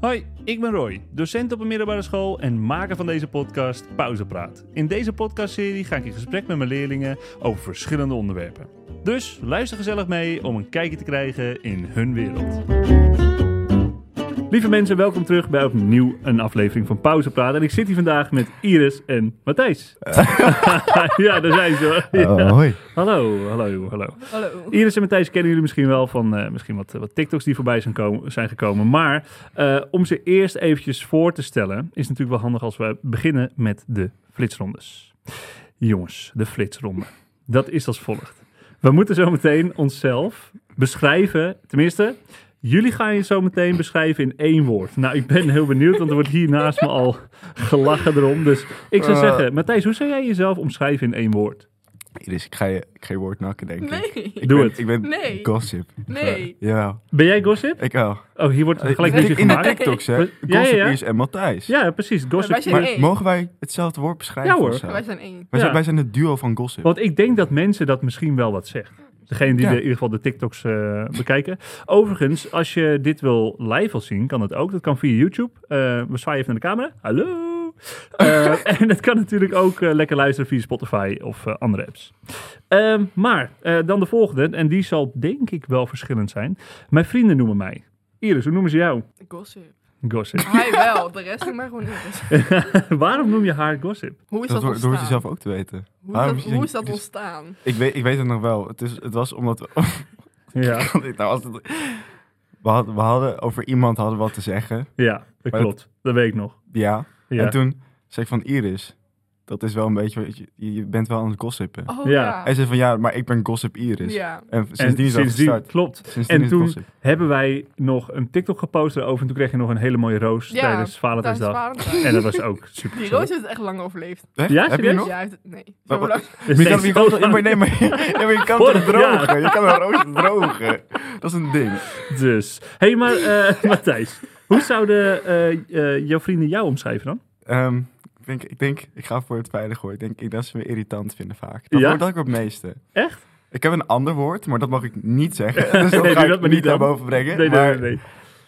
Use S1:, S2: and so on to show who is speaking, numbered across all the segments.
S1: Hoi, ik ben Roy, docent op een middelbare school en maker van deze podcast Pauzepraat. In deze podcastserie ga ik in gesprek met mijn leerlingen over verschillende onderwerpen. Dus luister gezellig mee om een kijkje te krijgen in hun wereld. Lieve mensen, welkom terug bij opnieuw een aflevering van Pauzepraat. En ik zit hier vandaag met Iris en Matthijs. ja, daar zijn ze. hoor. Ja.
S2: Oh, hoi.
S1: Hallo, hallo, hallo.
S3: Hallo.
S1: Iris en Matthijs kennen jullie misschien wel van eh, misschien wat, wat TikToks die voorbij zijn, komen, zijn gekomen. Maar eh, om ze eerst eventjes voor te stellen, is natuurlijk wel handig als we beginnen met de flitsrondes. Jongens, de flitsronde. Dat is als volgt. We moeten zo meteen onszelf beschrijven, tenminste, jullie gaan je zo meteen beschrijven in één woord. Nou, ik ben heel benieuwd, want er wordt hier naast me al gelachen erom. Dus ik zou
S2: Eh.
S1: zeggen, Matthijs, hoe zou jij jezelf omschrijven in één woord?
S2: Iris, ik ga je, ik ga je woord nakken, denk ik.
S3: Nee.
S2: Ik eh,
S1: Doe
S2: ben,
S1: het.
S2: Ik ben
S3: Nee.
S2: gossip.
S3: Nee.
S2: Ja, jawel,
S1: Ben jij gossip?
S2: ik wel.
S1: Oh, hier wordt gelijk
S2: Eh, in,
S1: ruzie
S2: de- in de
S1: gemaakt.
S2: TikToks, hè.
S1: Ja, ja,
S2: Gossip
S1: ja.
S2: Iris en Matthijs.
S1: Ja, precies. Gossip.
S3: wij zijn
S1: maar-
S3: één. Hey.
S2: Mogen wij hetzelfde woord beschrijven?
S1: Ja, hoor.
S2: of zo?
S3: Wij zijn één.
S2: Wij, zijn,
S1: Ja.
S2: wij zijn het duo van gossip.
S1: Want ik denk dat mensen dat misschien wel wat zegt. Degene die
S2: Ja.
S1: de, in ieder geval de TikToks eh, bekijken. Overigens, als je dit wil live wil zien, kan dat ook. Dat kan via YouTube. Eh, we zwaaien even naar de camera. Hallo. Eh, en dat kan natuurlijk ook eh, lekker luisteren via Spotify of eh, andere apps. Ehm, maar eh, dan de volgende. En die zal denk ik wel verschillend zijn. Mijn vrienden noemen mij. Iris, hoe noemen ze jou?
S3: Gossip.
S1: Gossip.
S3: Hij wel, de rest doe maar gewoon Iris.
S1: Waarom noem je haar gossip?
S3: Hoe is
S2: dat
S3: dat,
S2: hoor- dat hoort je
S3: ontstaan?
S2: zelf ook te weten.
S3: Hoe,
S2: Waarom
S3: is
S2: je
S3: dat,
S2: denkt,
S3: hoe is dat
S2: Iris-
S3: ontstaan?
S2: Ik weet, ik weet het nog wel. Het, is, het was omdat... we-
S1: Ja,
S2: nou, als het- we, hadden, we hadden over iemand hadden wat te zeggen.
S1: ja dat
S2: Maar dat-
S1: klopt. Dat weet ik nog.
S2: Ja.
S1: Ja.
S2: En toen zei ik van Iris, dat is wel een beetje... wat Je, je bent wel aan het gossipen.
S3: Oh
S1: Ja.
S3: ja.
S2: Hij zei van ja, maar ik ben gossip Iris.
S3: Ja.
S2: En sindsdien is dat gestart.
S1: klopt.
S2: Sindsdien
S1: En
S2: is het
S1: toen
S2: gossip.
S1: hebben wij nog een TikTok gepost erover. En toen kreeg je nog een hele mooie roos
S3: Ja,
S1: tijdens
S3: tijdens
S1: Valentijnsdag.
S3: Valentijn.
S1: En dat was ook super
S3: Die
S1: gezellig.
S3: roos heeft echt lang overleefd. Dus
S2: Echt?
S1: Ja,
S2: Heb je
S1: serieus?
S2: nog?
S3: Ja, hij heeft- nee.
S2: Maar
S3: Zo
S2: wat-
S3: lang.
S1: Dus
S2: Maar je
S1: deze
S2: kan, je kan,
S1: roos-
S2: ja, maar nee, maar, ja, maar je kan
S1: Vorig
S2: toch drogen? Je kan een roos drogen. Dat is een ding.
S1: Dus. Hé, hey, maar eh, Matthijs. Hoe zouden eh, eh, jouw vrienden jou omschrijven dan?
S2: Ehm, ik, denk, ik denk, ik ga voor het veilig hoor. Ik denk ik- dat ze me irritant vinden vaak. Dat
S1: Ja?
S2: hoort ook het meeste.
S1: Echt?
S2: Ik heb een ander woord, maar dat mag ik niet zeggen. Dus dat
S1: Nee,
S2: ga
S1: doe
S2: ik
S1: dat maar
S2: niet
S1: niet dan.
S2: naar boven brengen.
S1: Nee, nee,
S2: maar
S1: nee. nee.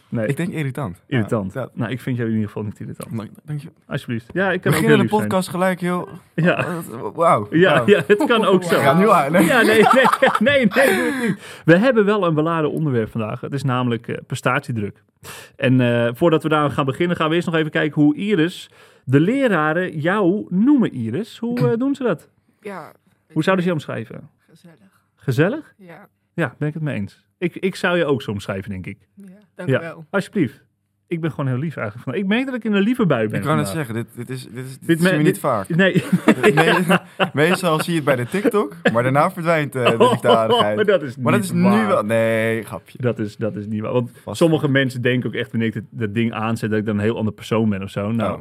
S1: Nee,
S2: Ik denk irritant.
S1: irritant.
S2: Ja, dat-
S1: Nou, ik vind jou in ieder geval niet irritant.
S2: dank- dank je.
S1: Alsjeblieft. Ja, ik
S2: We
S1: kan ook
S2: beginnen
S1: heel
S2: de
S1: lief zijn.
S2: podcast Oh. gelijk, joh.
S1: Ja.
S2: Wauw. Wauw.
S1: Ja, ja, het kan ook zo.
S2: We gaan nu aan. hè?
S1: Ja, nee, nee, nee, nee, doe het niet. We hebben wel een beladen onderwerp vandaag. Het is namelijk eh, prestatiedruk. En eh, voordat we daar gaan beginnen, gaan we eerst nog even kijken hoe Iris, de leraren, jou noemen Iris. Hoe eh, doen ze dat?
S3: Ja.
S1: Hoe zouden ze je omschrijven?
S3: Gezellig.
S1: Gezellig?
S3: Ja.
S1: Ja, ben ik het mee eens. Ik, ik zou je ook zo omschrijven, denk ik.
S3: ja. Dank
S1: Ja.
S3: u wel.
S1: Alsjeblieft. Ik ben gewoon heel lief eigenlijk. vandaag. Ik merk dat ik in een lieve bui ben.
S2: Ik kan het
S1: vandaag.
S2: zeggen, dit, dit is, dit is, dit
S1: Dit
S2: zien we
S1: me-
S2: niet
S1: dit-
S2: vaak.
S1: Nee,
S2: Me- meestal zie je het bij de TikTok, maar daarna verdwijnt eh, de liefdadigheid.
S1: Oh, maar dat is
S2: Maar dat
S1: niet
S2: is nu
S1: waar.
S2: wel... Nee, grapje.
S1: Dat is, dat is niet waar. Want
S2: Vast.
S1: sommige mensen denken ook echt wanneer ik dat, dat ding aanzet dat ik dan een heel ander persoon ben of zo. Nou,
S2: Oh.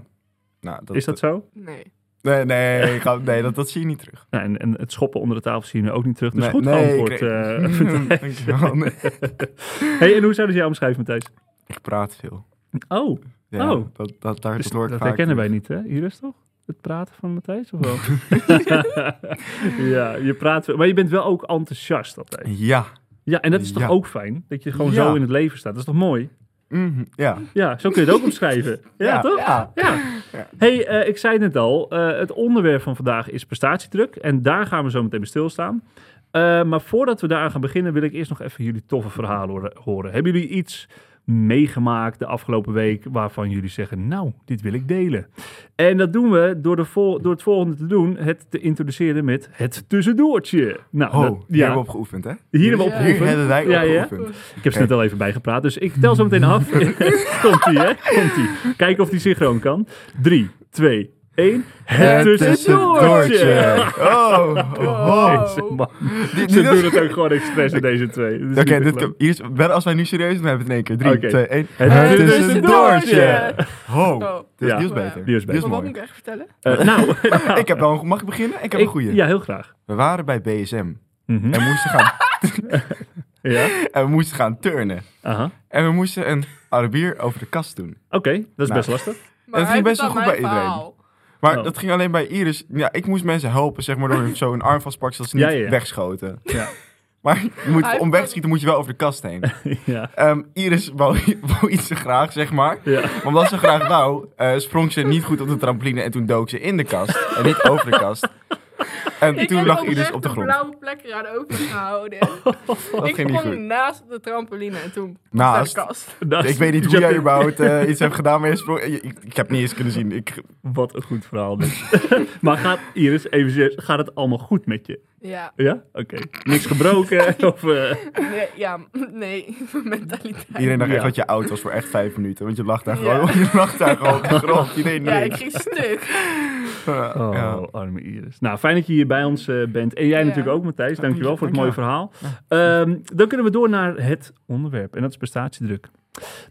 S2: Nou,
S1: is dat zo?
S3: Nee.
S2: Nee, nee, grap- nee dat, dat zie je niet terug.
S1: Nou, en, en het schoppen onder de tafel zien we ook niet terug. Dus
S2: nee,
S1: goed
S2: nee,
S1: antwoord.
S2: ik re-
S1: eh, Matthijs.
S2: Dankjewel. Nee,
S1: hey, en hoe zouden ze jou omschrijven, Matthijs?
S2: Ik praat veel.
S1: Oh,
S2: Ja,
S1: Oh.
S2: Dat, dat, daar,
S1: dus
S2: dat hoor ik
S1: dat
S2: vaak
S1: herkennen wij
S2: terug.
S1: niet, hè? Iris, toch? Het praten van Matthijs, of wel? ja, je praat... wel- Maar je bent wel ook enthousiast altijd.
S2: Ja.
S1: Ja, en dat is toch
S2: Ja.
S1: ook fijn? Dat je gewoon
S2: Ja.
S1: zo in het leven staat. Dat is toch mooi?
S2: Mhm, ja.
S1: Ja, zo kun je het ook omschrijven. Ja,
S2: Ja,
S1: toch?
S2: ja.
S1: hey, eh, ik zei het net al. eh, het onderwerp van vandaag is prestatiedruk. En daar gaan we zo meteen bij stilstaan. Eh, maar voordat we daaraan gaan beginnen, wil ik eerst nog even jullie toffe verhalen horen- horen. Hebben jullie iets meegemaakt de afgelopen week waarvan jullie zeggen, nou, dit wil ik delen. En dat doen we door, de vol- door het volgende te doen, het te introduceren met het tussendoortje. Nou,
S2: Oh,
S1: dat-
S2: hier hebben we op geoefend, hè?
S1: Hier hebben we op
S2: Hier
S1: geoefend.
S2: hebben wij op
S1: Ja, ja.
S2: geoefend.
S1: ik heb ze net al even bijgepraat, dus ik tel zo meteen af. Komt-ie, hè? Komt-ie. Kijken of die synchroon kan. 3, 2, 1. Het tussendoortje!
S2: Oh, oh.
S1: Deze man.
S2: Dit-
S1: Ze
S2: dit
S1: doen
S2: was-
S1: het ook gewoon expres in deze twee. Dit is
S2: Oké,
S1: niet
S2: dit
S1: te
S2: kan- hier is- wel als wij nu serieus zijn, hebben we het in één keer. 3,
S1: Oké.
S2: 2, 1.
S1: geloven.
S2: Het
S1: Het
S2: is een doortje.
S1: tussendoortje!
S2: Ho,
S3: Oh.
S2: dit is
S1: Ja.
S2: nieuws beter.
S1: Die is
S2: Dit
S1: beter.
S3: Maar wat
S2: mooi.
S3: moet ik echt vertellen?
S1: Eh, nou,
S2: Ik heb wel een, mag ik beginnen? Ik heb een
S1: ik-
S2: goeie.
S1: Ja, heel graag.
S2: We waren bij BSM
S1: Mhm.
S2: en we, moesten gaan,
S1: Ja,
S2: en we moesten gaan turnen.
S1: aha.
S2: En we moesten een Arabier over de kast doen.
S1: Oké, dat is
S2: Nou.
S1: best lastig.
S3: Maar
S2: ging
S3: hij
S2: best wel
S3: vertelt
S2: goed bij
S3: mijn
S2: iedereen.
S3: verhaal.
S2: Maar
S1: Oh.
S2: dat ging alleen bij Iris. Ja, ik moest mensen helpen, zeg maar, door zo een arm vastpakken zodat ze niet
S1: Ja, ja, ja.
S2: wegschoten.
S1: Ja.
S2: Maar je moet, om weg te
S3: iPhone.
S2: schieten moet je wel over de kast heen.
S1: ja.
S2: Ehm, Iris wou, wou iets graag, zeg maar.
S1: ja.
S2: Maar Omdat ze graag wou, eh, sprong ze niet goed op de trampoline en toen dook ze in de kast. En niet over de kast. En
S3: Ik
S2: toen
S3: heb
S2: lag
S3: oprecht
S2: Iris op de grond.
S3: blauwe plek eraan open gehouden.
S2: Dat
S3: ik
S2: ging niet
S3: kwam
S2: goed.
S3: naast de trampoline en toen
S2: Naast.
S3: naar de kast.
S1: Dat is-
S2: Ik weet niet hoe
S1: Jump
S2: jij
S1: in.
S2: überhaupt eh, iets hebt gedaan, maar je sprong- je- ik, ik heb niet eens kunnen zien. Ik,
S1: Wat een goed verhaal dus. maar gaat, Iris, even serieus, gaat het allemaal goed met je?
S3: Ja,
S1: Ja? Oké. Niks gebroken? of, eh,
S3: nee, ja, nee, mijn mentaliteit.
S2: iedereen dacht echt
S1: Ja.
S2: dat je oud was voor echt vijf minuten, want je lag daar
S3: Ja.
S2: gewoon, je lag daar gewoon op de grond. Je deed
S3: Ja, ik
S2: niks.
S3: ging stuk.
S2: Ja,
S1: Oh,
S2: ja.
S1: arme Iris. Nou, fijn dat je hier bij ons eh, bent. En jij
S3: Ja.
S1: natuurlijk ook, Matthijs. Dankjewel voor het mooie verhaal. Ehm, dan kunnen we door naar het onderwerp. En dat is prestatiedruk.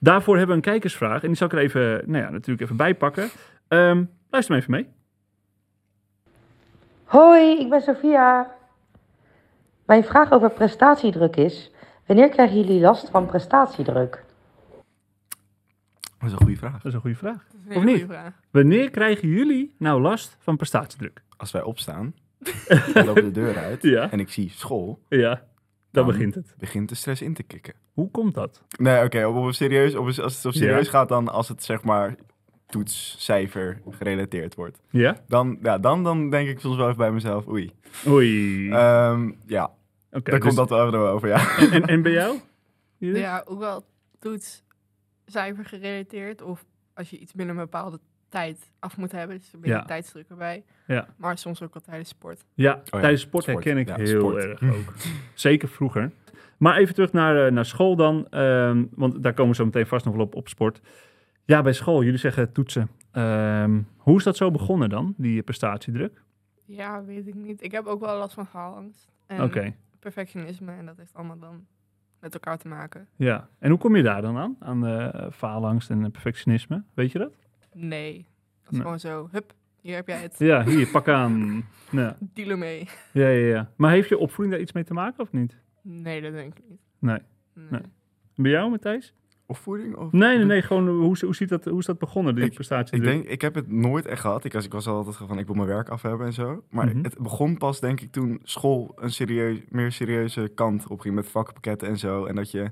S1: Daarvoor hebben we een kijkersvraag. En die zal ik er even, nou ja, natuurlijk even bij pakken. Ehm, luister maar even mee.
S4: Hoi, ik ben Sophia. Mijn vraag over prestatiedruk is: wanneer krijgen jullie last van prestatiedruk?
S2: Dat is een goede vraag.
S1: Dat is een goede vraag.
S3: Hele
S1: Of niet?
S3: goeie vraag.
S1: Wanneer krijgen jullie nou last van prestatiedruk?
S2: Als wij opstaan, ik loop de deur uit
S1: Ja.
S2: en ik zie school,
S1: Ja, dan
S2: Dan-
S1: begint het.
S2: begint de stress in te kicken.
S1: Hoe komt dat?
S2: Nee, oké, op, op een serieus, op een- als het op
S1: Ja.
S2: serieus gaat, dan als het zeg maar toetscijfer gerelateerd wordt.
S1: Ja?
S2: Dan, ja, dan, dan denk ik soms wel even bij mezelf, oei.
S1: Oei. Hmm. Oké.
S2: Ehm, ja, daar
S1: dus-
S2: komt dat wel even over, ja.
S1: en, en bij jou? Iris?
S3: Ja, ook wel toets cijfer gerelateerd. Of als je iets binnen een bepaalde tijd af moet hebben. Dus een beetje
S1: Ja.
S3: tijdsdruk erbij.
S1: Ja.
S3: Maar soms ook wel tijdens sport.
S1: Ja,
S2: Oh ja,
S1: tijdens sport,
S2: sport.
S1: herken ik
S2: Ja,
S1: heel
S2: sport.
S1: erg ook. Zeker vroeger. Maar even terug naar, eh, naar school dan. ehm, want daar komen we zo meteen vast nog wel op, op sport. Ja, bij school. Jullie zeggen toetsen. Ehm, hoe is dat zo begonnen dan, die prestatiedruk?
S3: Ja, weet ik niet. Ik heb ook wel last van faalangst. En
S1: Oké,
S3: perfectionisme. En dat heeft allemaal dan met elkaar te maken.
S1: ja. En hoe kom je daar dan aan? Aan eh faalangst en perfectionisme? Weet je dat?
S3: Nee. Dat is
S1: Nee.
S3: gewoon zo. Hup, hier heb jij het.
S1: Ja, hier, pak aan. Ja.
S3: Deal ermee.
S1: Ja, ja, ja. Maar heeft je opvoeding daar iets mee te maken of niet?
S3: Nee, dat denk ik niet.
S1: Nee.
S3: Nee.
S1: Bij jou, Matthijs?
S2: Opvoeding? Of...
S1: Nee, nee, nee. Gewoon, hoe, hoe, ziet dat, hoe is dat begonnen, die
S2: Ik- Ik
S1: prestatiedruk?
S2: denk, ik heb het nooit echt gehad. Ik, als, ik was altijd van, ik wil mijn werk af hebben en zo. Maar
S1: Mhm.
S2: het begon pas, denk ik, toen school een serieus, meer serieuze kant opging met vakpakketten en zo. En dat je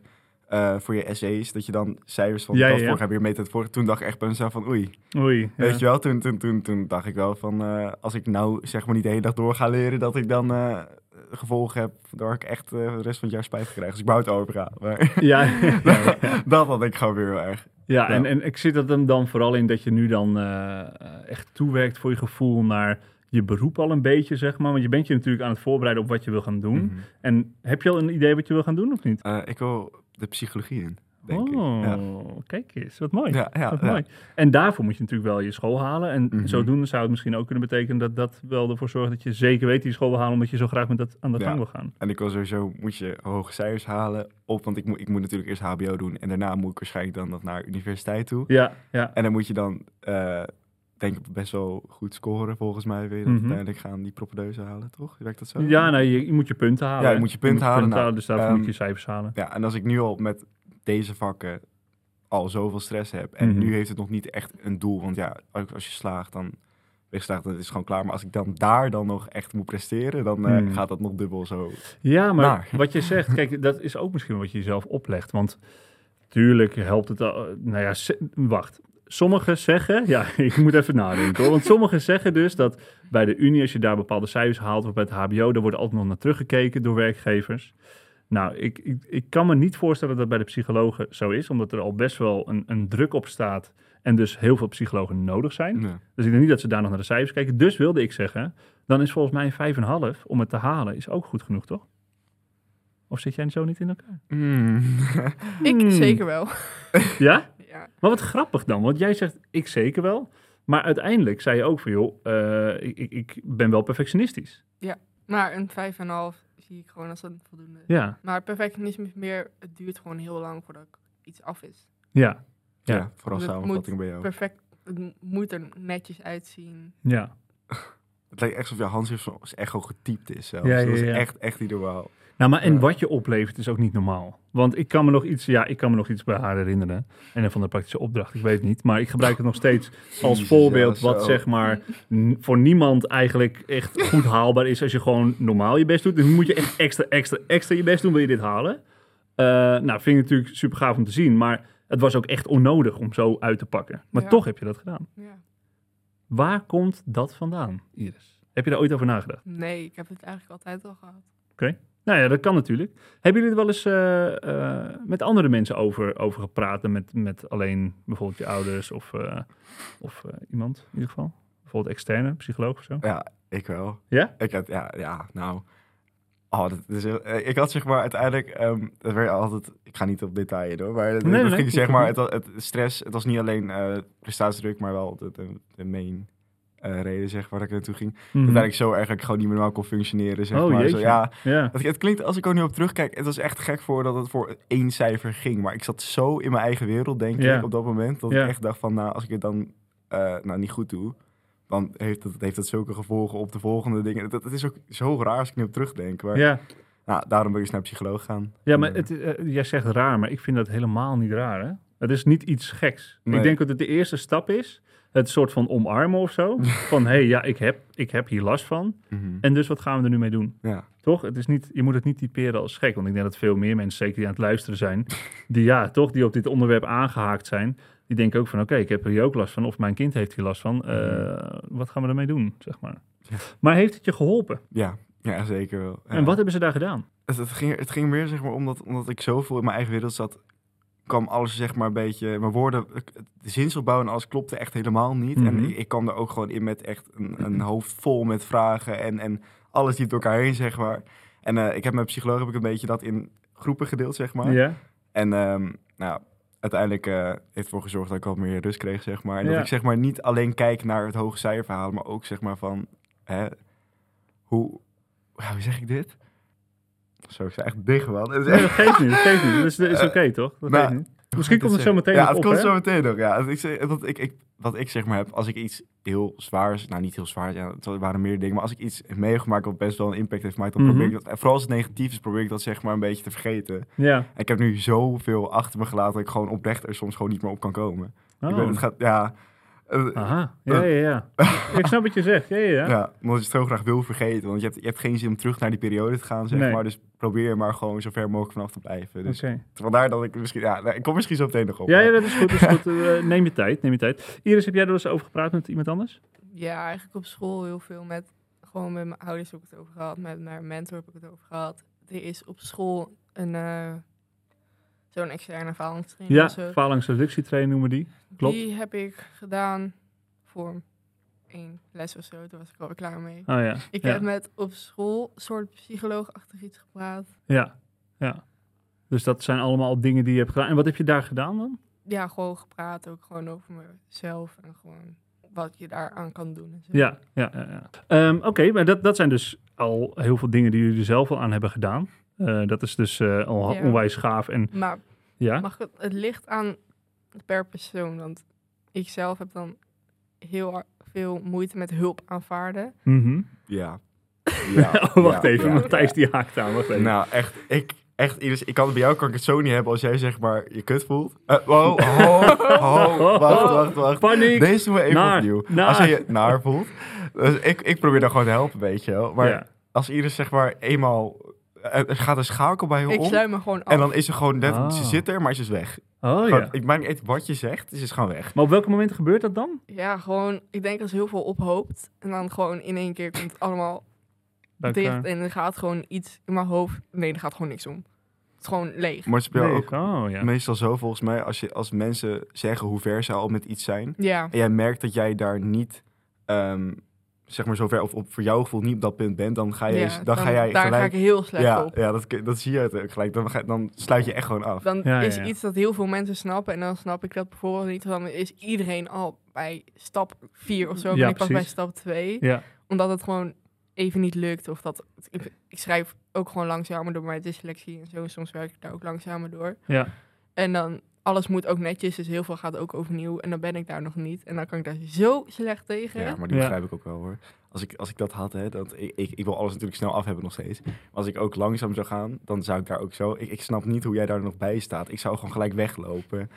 S2: eh, voor je essays, dat je dan cijfers van
S1: Ja, ja,
S2: dat
S1: ja.
S2: vorige heb je mee het vorige. Toen dacht ik echt bij mezelf van, oei.
S1: Oei. ja.
S2: Weet je wel, toen, toen, toen, toen dacht ik wel van, eh, als ik nou zeg maar niet de hele dag door ga leren, dat ik dan eh, gevolgen heb waar ik echt eh, de rest van het jaar spijt van krijg. Dus ik bouw het over ga. Maar
S1: Ja, ja, ja.
S2: dat had ik gewoon weer heel erg.
S1: ja en,
S2: Ja.
S1: en ik zit dat hem dan vooral in dat je nu dan eh, eh, echt toewerkt voor je gevoel naar je beroep al een beetje, zeg maar. Want je bent je natuurlijk aan het voorbereiden op wat je wil gaan doen.
S2: Mhm.
S1: En heb je al een idee wat je wil gaan doen of niet?
S2: Eh, ik wil de psychologie in, denk
S1: oh,
S2: ik. Ja.
S1: kijk eens, wat mooi.
S2: Ja, ja,
S1: Wat
S2: ja.
S1: mooi. En daarvoor moet je natuurlijk wel je school halen. En
S2: Mhm.
S1: zodoende zou het misschien ook kunnen betekenen dat dat wel ervoor zorgt dat je zeker weet die school wil halen, omdat je zo graag met dat aan de
S2: Ja.
S1: gang wil gaan.
S2: En ik wil sowieso, moet je hoge cijfers halen op, want ik, moet ik moet natuurlijk eerst HBO doen en daarna moet ik waarschijnlijk dan nog naar universiteit toe.
S1: Ja, ja.
S2: En dan moet je dan, eh, denk ik, best wel goed scoren volgens mij. Wil je dan
S1: Mhm.
S2: uiteindelijk gaan die propedeuse halen, toch? Werkt dat zo?
S1: Ja, nou, je, je moet je punten halen.
S2: Ja, je
S1: hè.
S2: moet je punten halen. Nou,
S1: dus daarvoor moet
S2: ehm,
S1: je cijfers halen.
S2: Ja, en als ik nu al met deze vakken al zoveel stress heb en
S1: Mhm.
S2: nu heeft het nog niet echt een doel, want ja, ook als je slaagt, dan ben je geslaagd, dan is het gewoon klaar. Maar als ik dan daar dan nog echt moet presteren, dan eh,
S1: Mm.
S2: gaat dat nog dubbel zo.
S1: Ja, maar
S2: Maar.
S1: wat je zegt, kijk, dat is ook misschien wat je jezelf oplegt. Want tuurlijk helpt het. al- Nou ja, se- wacht. Sommigen zeggen, ja, ik moet even nadenken hoor. Want sommigen zeggen dus dat bij de Unie, als je daar bepaalde cijfers haalt, of bij het HBO, daar wordt altijd nog naar teruggekeken door werkgevers. Nou, ik, ik, ik kan me niet voorstellen dat dat bij de psychologen zo is, omdat er al best wel een, een druk op staat en dus heel veel psychologen nodig zijn.
S2: Ja.
S1: Dus ik denk niet dat ze daar nog naar de cijfers kijken. Dus wilde ik zeggen, dan is volgens mij een 5,5 om het te halen is ook goed genoeg, toch? Of zit jij zo niet in elkaar?
S2: Mm.
S1: Hmm.
S3: Ik zeker wel.
S1: Ja?
S3: Ja.
S1: Maar wat grappig dan, want jij zegt ik zeker wel. Maar uiteindelijk zei je ook van, joh, eh, ik, ik, ik ben wel perfectionistisch.
S3: Maar een 5,5 zie ik gewoon als een voldoende.
S1: Ja,
S3: Maar perfectionisme is meer, het duurt gewoon heel lang voordat iets af is.
S1: ja,
S2: Ja,
S1: Ja.
S2: vooral
S3: Dat
S2: samenvatting bij jou.
S3: Perfect, het m- moet er netjes uitzien.
S1: ja.
S2: Het lijkt echt alsof jouw handschrift zo- echt gewoon getypt is. Zelfs.
S1: Ja, ja,
S2: Dat is
S1: ja.
S2: echt, echt niet normaal.
S1: Nou, maar en wat je oplevert is ook niet normaal. Want ik kan me nog iets, ja, ik kan me nog iets bij haar herinneren. En een van de praktische opdracht, ik weet het niet. Maar ik gebruik het nog steeds als
S2: Jezus,
S1: voorbeeld
S2: ja,
S1: wat
S2: zo.
S1: zeg maar n- voor niemand eigenlijk echt goed haalbaar is als je gewoon normaal je best doet. Dus moet je echt extra, extra, extra je best doen, wil je dit halen? Eh, nou, vind ik natuurlijk super gaaf om te zien. Maar het was ook echt onnodig om zo uit te pakken. Maar
S3: Ja.
S1: toch heb je dat gedaan.
S3: Ja.
S1: Waar komt dat vandaan, Iris? Heb je daar ooit over nagedacht?
S3: Nee, ik heb het eigenlijk altijd al gehad.
S1: Nou ja, dat kan natuurlijk. Hebben jullie er wel eens eh, eh, met andere mensen over, over gepraat? Dan Met, met alleen bijvoorbeeld je ouders of, eh, of eh, iemand in ieder geval? Bijvoorbeeld externe, psycholoog of zo?
S2: Ja, ik wel.
S1: Ja?
S2: Ik had, ja, ja, nou. Oh, dat is heel- eh, ik had zeg maar uiteindelijk, ehm dat werd altijd, ik ga niet op detail in hoor, maar het-
S1: Nee,
S2: het
S1: nee,
S2: ging,
S1: nee,
S2: zeg
S1: ik-
S2: maar, het, het stress, het was niet alleen eh prestatiedruk, maar wel de, de, de main eh, reden zeg waar ik naartoe ging. Dat ik zo erg dat ik gewoon niet meer normaal kon functioneren zeg
S1: Mhm. Oh,
S2: maar. Zo,
S1: jeetje.
S2: ja,
S1: Ja.
S2: het, het klinkt, als ik er nu op terugkijk, het was echt gek voor dat het voor één cijfer ging. Maar ik zat zo in mijn eigen wereld, denk
S1: Ja.
S2: ik, op dat moment. Dat
S1: Ja.
S2: ik echt dacht van, nou, als ik het dan eh, nou, niet goed doe, dan heeft dat, heeft dat zulke gevolgen op de volgende dingen. Dat, dat is ook zo raar als ik nu op terugdenk. Maar
S1: Ja.
S2: nou, daarom ben ik eens naar een psycholoog gaan.
S1: ja, maar het, eh, jij zegt raar, maar ik vind dat helemaal niet raar. Hè? Het is niet iets geks.
S2: Nee.
S1: Ik denk dat het de eerste stap is. Het soort van omarmen of zo. Van hé, hey, ja, ik heb, ik heb hier last van.
S2: Mhm.
S1: En dus wat gaan we er nu mee doen?
S2: Ja.
S1: Toch? Het is niet, je moet het niet typeren als gek. Want ik denk dat veel meer mensen, zeker die aan het luisteren zijn, die ja, toch, die op dit onderwerp aangehaakt zijn, die denken ook van oké, ik heb er hier ook last van. Of mijn kind heeft hier last van. Eh,
S2: Mhm.
S1: wat gaan we ermee doen? Zeg maar. Maar heeft het je geholpen?
S2: Ja. ja, zeker wel. Ja.
S1: En wat hebben ze daar gedaan?
S2: Het, het ging, het ging meer zeg maar omdat, omdat ik zoveel in mijn eigen wereld zat, kwam alles zeg maar een beetje, mijn woorden, de zinsopbouw en alles klopte echt helemaal niet.
S1: Mhm.
S2: En ik, ik kwam er ook gewoon in met echt een, een hoofd vol met vragen en, en alles liep door elkaar heen zeg maar. En eh, ik heb met psycholoog heb ik een beetje dat in groepen gedeeld zeg maar.
S1: Ja.
S2: En ehm, nou, uiteindelijk eh, heeft het ervoor gezorgd dat ik wat meer rust kreeg zeg maar. En
S1: Ja.
S2: dat ik zeg maar niet alleen kijk naar het hoge cijfer halen, maar ook zeg maar van, hè, hoe, hoe zeg ik dit? Zo, ik zei echt dicht man. Het is
S1: Nee,
S2: echt
S1: dat geeft niet. Dat geeft niet. Dat is, dat is oké, toch? Dat
S2: nou,
S1: geeft niet. Misschien komt het zo meteen
S2: ja,
S1: nog
S2: het
S1: op,
S2: komt
S1: hè?
S2: zo meteen ook. Ja, ik, zeg- want ik, ik, wat ik zeg maar heb, als ik iets heel zwaars, nou niet heel zwaar, ja, het waren meer dingen, maar als ik iets mee heb gemaakt wat best wel een impact heeft gemaakt, dan probeer
S1: Mhm.
S2: ik dat, en vooral als het negatief is, probeer ik dat zeg maar een beetje te vergeten.
S1: Ja.
S2: En ik heb nu zoveel achter me gelaten dat ik gewoon oprecht er soms gewoon niet meer op kan komen. Ik
S1: Oh.
S2: weet, het gaat, ja, eh,
S1: Aha. Ja, ja, ja. ik snap wat je zegt. Ja, ja, ja.
S2: ja, omdat je het zo graag wil vergeten, want je hebt, je hebt geen zin om terug naar die periode te gaan, zeg
S1: Nee.
S2: maar, dus probeer er maar gewoon zo ver mogelijk vanaf te blijven. Dus
S1: Oké.
S2: vandaar dat ik misschien, ja, nou, ik kom misschien zo meteen nog op.
S1: Ja,
S2: maar-
S1: ja, dat is goed. Dat is goed. Eh, neem je tijd, neem je tijd. Iris, heb jij er wel eens over gepraat met iemand anders?
S3: Ja, eigenlijk op school heel veel met... Gewoon met mijn ouders heb ik het over gehad. Met mijn mentor heb ik het over gehad. Er is op school een... eh, Zo'n externe ervaringstraining.
S1: Ja,
S3: of zo.
S1: phalanxreductietrain noemen we die. klopt.
S3: Die heb ik gedaan voor één les of zo. Toen was ik alweer klaar mee.
S1: Oh ja.
S3: Ik
S1: ja.
S3: heb met op school soort psycholoogachtig iets gepraat.
S1: Ja, ja. Dus dat zijn allemaal dingen die je hebt gedaan. En wat heb je daar gedaan dan?
S3: Ja, gewoon gepraat. Ook gewoon over mezelf. En gewoon wat je daaraan kan doen. En zo.
S1: Ja, ja, ja. ja. Ehm, Oké, maar dat, dat zijn dus al heel veel dingen die jullie er zelf al aan hebben gedaan. Eh, dat is dus eh, al
S3: Ja.
S1: onwijs gaaf. En
S3: Maar
S1: ja,
S3: mag het, het ligt aan per persoon. Want ik zelf heb dan heel ar- veel moeite met hulp aanvaarden.
S1: Mhm.
S2: Ja. ja.
S1: Oh, wacht
S2: Ja,
S1: even,
S2: ja.
S1: Matthijs die haakt aan. Wacht even.
S2: Nou, echt, ik, echt, Iris, ik kan het bij jou kan ik het zo niet hebben als jij zeg maar je kut voelt. Eh, wow, ho, ho, wacht, wacht, wacht.
S1: Paniek!
S2: Deze doen we even
S1: Naar,
S2: opnieuw.
S1: naar.
S2: Als jij je naar voelt. Dus ik, ik probeer dan gewoon te helpen, weet je wel. Maar
S1: Ja.
S2: als Iris zeg maar eenmaal, eh, er er gaat een schakel bij je
S3: Ik
S2: om.
S3: sluit me gewoon af.
S2: En dan is ze gewoon net,
S1: Ah.
S2: ze zit er, maar ze is weg.
S1: Oh
S2: Gewoon,
S1: ja.
S2: Ik maak niet uit wat je zegt, ze is gewoon weg.
S1: Maar op welke momenten gebeurt dat dan?
S3: Ja, gewoon, ik denk als heel veel ophoopt. En dan gewoon in één keer komt het allemaal
S1: Bij
S3: dicht.
S1: elkaar?
S3: En er gaat gewoon iets in mijn hoofd. Nee, er gaat gewoon niks om. Het is gewoon leeg.
S2: Maar het speelt
S1: Nee,
S2: ook
S1: Oh ja.
S2: meestal zo volgens mij als, je, als mensen zeggen hoe ver ze al met iets zijn.
S3: Ja,
S2: en jij merkt dat jij daar niet, ehm, zeg maar zover, of op, voor jouw gevoel niet op dat punt bent, dan ga, je,
S3: ja,
S2: eens- dus dan ga jij
S3: daar
S2: gelijk...
S3: ga ik heel slecht
S2: ja,
S3: op.
S2: ja dat, kun- dat zie je het ook gelijk. Dan, ga, dan sluit je echt gewoon af.
S3: Dan
S1: Ja, ja,
S3: is
S1: ja.
S3: iets dat heel veel mensen snappen. En dan snap ik dat bijvoorbeeld niet. Dan is iedereen al bij stap 4 of zo.
S1: Ja,
S3: ben ik pas bij
S1: precies.
S3: stap 2.
S1: Ja.
S3: Omdat het gewoon even niet lukt. Of dat ik, ik schrijf ook gewoon langzamer door mijn dyslexie en zo. Soms werk ik daar ook langzamer door.
S1: Ja.
S3: En dan alles moet ook netjes, dus heel veel gaat ook overnieuw. En dan ben ik daar nog niet. En dan kan ik daar zo slecht tegen.
S2: Ja, maar die
S1: Ja.
S2: begrijp ik ook wel hoor. Als ik, als ik dat had, hè, dat, ik, ik, ik wil alles natuurlijk snel af hebben nog steeds. Maar als ik ook langzaam zou gaan, dan zou ik daar ook zo... Ik, ik snap niet hoe jij daar nog bij staat. Ik zou gewoon gelijk weglopen.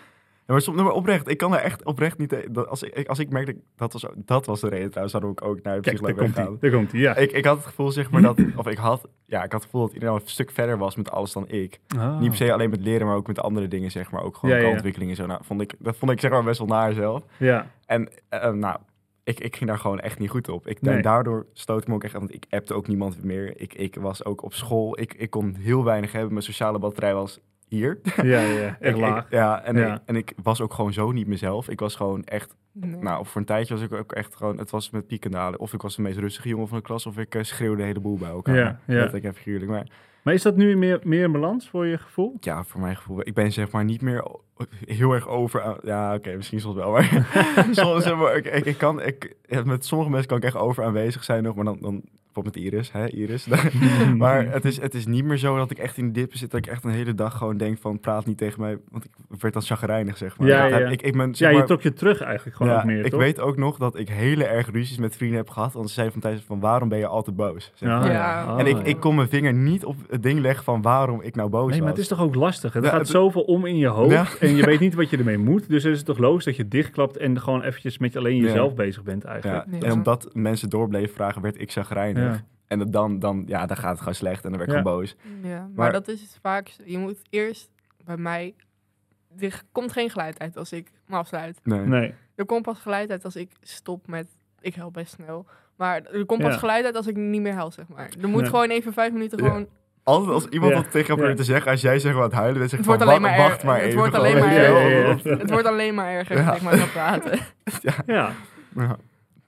S2: Ja, maar soms nou, maar oprecht, ik kan daar echt oprecht niet... tegen. Dat, als, ik, als ik merkte, dat was, dat was de reden trouwens waarom ik ook naar de
S1: Kijk, daar
S2: psycholoog
S1: komt hij.
S2: ben gegaan.
S1: Daar komt hij, ja.
S2: Ik, ik had het gevoel zeg maar dat... Of ik had, ja, ik had het gevoel dat iedereen al een stuk verder was met alles dan ik.
S1: Ah.
S2: Niet per se alleen met leren, maar ook met andere dingen zeg maar. Ook gewoon
S1: Ja, ja, ja.
S2: ontwikkelingen zo. Nou, vond ik, dat vond ik zeg maar best wel naar zelf.
S1: Ja,
S2: En eh, eh, nou, ik, ik ging daar gewoon echt niet goed op. Ik, en
S1: Nee.
S2: Daardoor stoot ik me ook echt aan, want ik appte ook niemand meer. Ik, ik was ook op school, ik, ik kon heel weinig hebben. Mijn sociale batterij was hier.
S1: ja, ja, ja.
S2: Ik-
S1: Echt
S2: ik-
S1: laag.
S2: ja, en,
S1: Ja.
S2: Ik, en ik was ook gewoon zo niet mezelf. Ik was gewoon echt,
S3: Nee.
S2: nou, voor een tijdje was ik ook echt gewoon, het was met pieken en dalen. Of ik was de meest rustige jongen van de klas, of ik eh, schreeuwde de hele boel bij elkaar.
S1: Ja, ja.
S2: Dat ik even gruwelijk. Maar
S1: Maar is dat nu meer, meer in balans voor je gevoel?
S2: ja, voor mijn gevoel, ik ben zeg maar niet meer o- heel erg over. aan- Ja, oké, misschien soms wel, maar soms zeg maar, ik, ik, ik kan, ik, ja, met sommige mensen kan ik echt over aanwezig zijn nog, maar dan, dan bijvoorbeeld met Iris, hè, Iris. maar het is, het is niet meer zo dat ik echt in de dippen zit, dat ik echt een hele dag gewoon denk van praat niet tegen mij, want ik werd dan chagrijnig, zeg maar.
S1: Ja,
S2: Dat heb
S1: ja.
S2: Ik, ik ben, zeg
S1: Ja, je
S2: maar-
S1: trok je terug eigenlijk gewoon
S2: ja,
S1: ook meer,
S2: ik
S1: toch?
S2: weet ook nog dat ik hele erg ruzies met vrienden heb gehad, want ze zeiden van tijdens van waarom ben je altijd boos? Zeg
S1: Ah,
S2: maar.
S3: Ja.
S1: ah.
S2: En ik, ik kon mijn vinger niet op het ding leggen van waarom ik nou boos
S1: Nee, maar
S2: was.
S1: het is toch ook lastig. Er
S2: Ja,
S1: gaat
S2: het-
S1: zoveel om in je hoofd
S2: Ja.
S1: en je weet niet wat je ermee moet. Dus is het toch logisch dat je dichtklapt en gewoon eventjes met alleen
S2: Ja.
S1: jezelf bezig bent eigenlijk.
S2: Ja,
S3: Ja.
S2: En omdat mensen door bleven vragen, werd ik chagrijnig.
S1: Ja.
S2: En dat dan, dan, ja, dan gaat het gewoon slecht en dan werd ik
S1: Ja.
S2: gewoon boos.
S3: Ja, maar,
S2: Maar-
S3: dat is het vaak. zo. Je moet eerst bij mij. Er komt geen geluid uit als ik me afsluit.
S2: Nee.
S1: Nee.
S3: Er komt pas geluid uit als ik stop met. Ik help best snel. Maar er komt pas
S1: Ja.
S3: geluid uit als ik niet meer hel, zeg maar. Er moet
S1: Nee.
S3: gewoon even vijf minuten
S2: Ja.
S3: gewoon.
S2: Altijd als iemand
S1: Ja.
S2: dat tegen jou probeert te zeggen, als jij zegt wat huilen, dan zeg
S3: Het
S2: je
S3: wordt
S2: van,
S3: alleen
S2: "Wa-
S3: maar
S2: wacht
S3: er-
S2: maar
S3: het
S2: even.
S3: wordt
S2: gewoon."
S3: alleen maar
S2: Ja,
S1: erger.
S2: ja, ja.
S1: Oh, Ja, ja,
S3: Het wordt alleen maar erger
S2: Ja.
S3: als ik maar ga praten.
S1: Ja.
S2: Ja.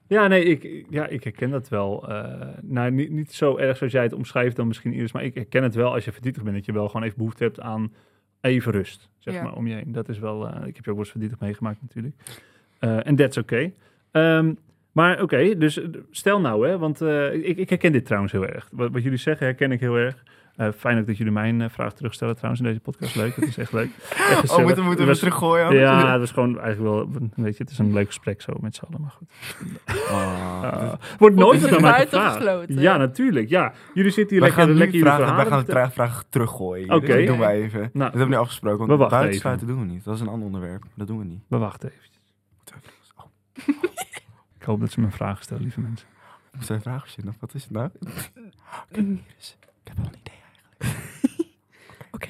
S1: Ja, nee, ik, ja, ik herken dat wel. eh, nou, niet, niet zo erg zoals jij het omschrijft dan misschien eerst, maar ik herken het wel als je verdrietig bent, dat je wel gewoon even behoefte hebt aan even rust, zeg
S3: Ja.
S1: maar, om je heen. Dat is wel, eh, ik heb je ook wel eens verdrietig meegemaakt natuurlijk. Eh, En that's oké. Ehm, maar oké, dus eh, stel nou, hè, want eh, ik, ik herken dit trouwens heel erg. Wat, wat jullie zeggen herken ik heel erg. Eh, fijn ook dat jullie mijn eh, vraag terugstellen trouwens in deze podcast. Leuk, dat is echt leuk. Echt gezellig.
S2: Oh, moeten, moeten we
S1: Het was-
S2: teruggooien? ook?
S1: Ja, het is gewoon eigenlijk wel, weet je, het is een leuk gesprek zo met z'n allen, maar goed.
S2: Ah.
S1: Ah. wordt nooit
S3: is
S1: wat
S3: het
S1: aan mij
S3: buiten
S1: gevraagd.
S3: gesloten?
S1: Ja, natuurlijk. Ja. Jullie zitten hier
S2: We
S1: lekker,
S2: gaan, nu
S1: lekker jullie
S2: vragen, we
S1: verhalen.
S2: gaan
S1: vertellen.
S2: de vragen teruggooien.
S1: Oké.
S2: Dat doen we even.
S1: Nou,
S2: dat hebben we nu afgesproken.
S1: we
S2: Want
S1: wachten
S2: buitensluiten doen we niet. Dat is een ander onderwerp. Dat doen we niet.
S1: We wachten eventjes. Ik hoop dat ze me een vraag stellen, lieve mensen.
S2: Moet zijn vragen verzinnen? of Wat is het nou? Oké, Iris, Ik heb wel een idee.
S3: Oké.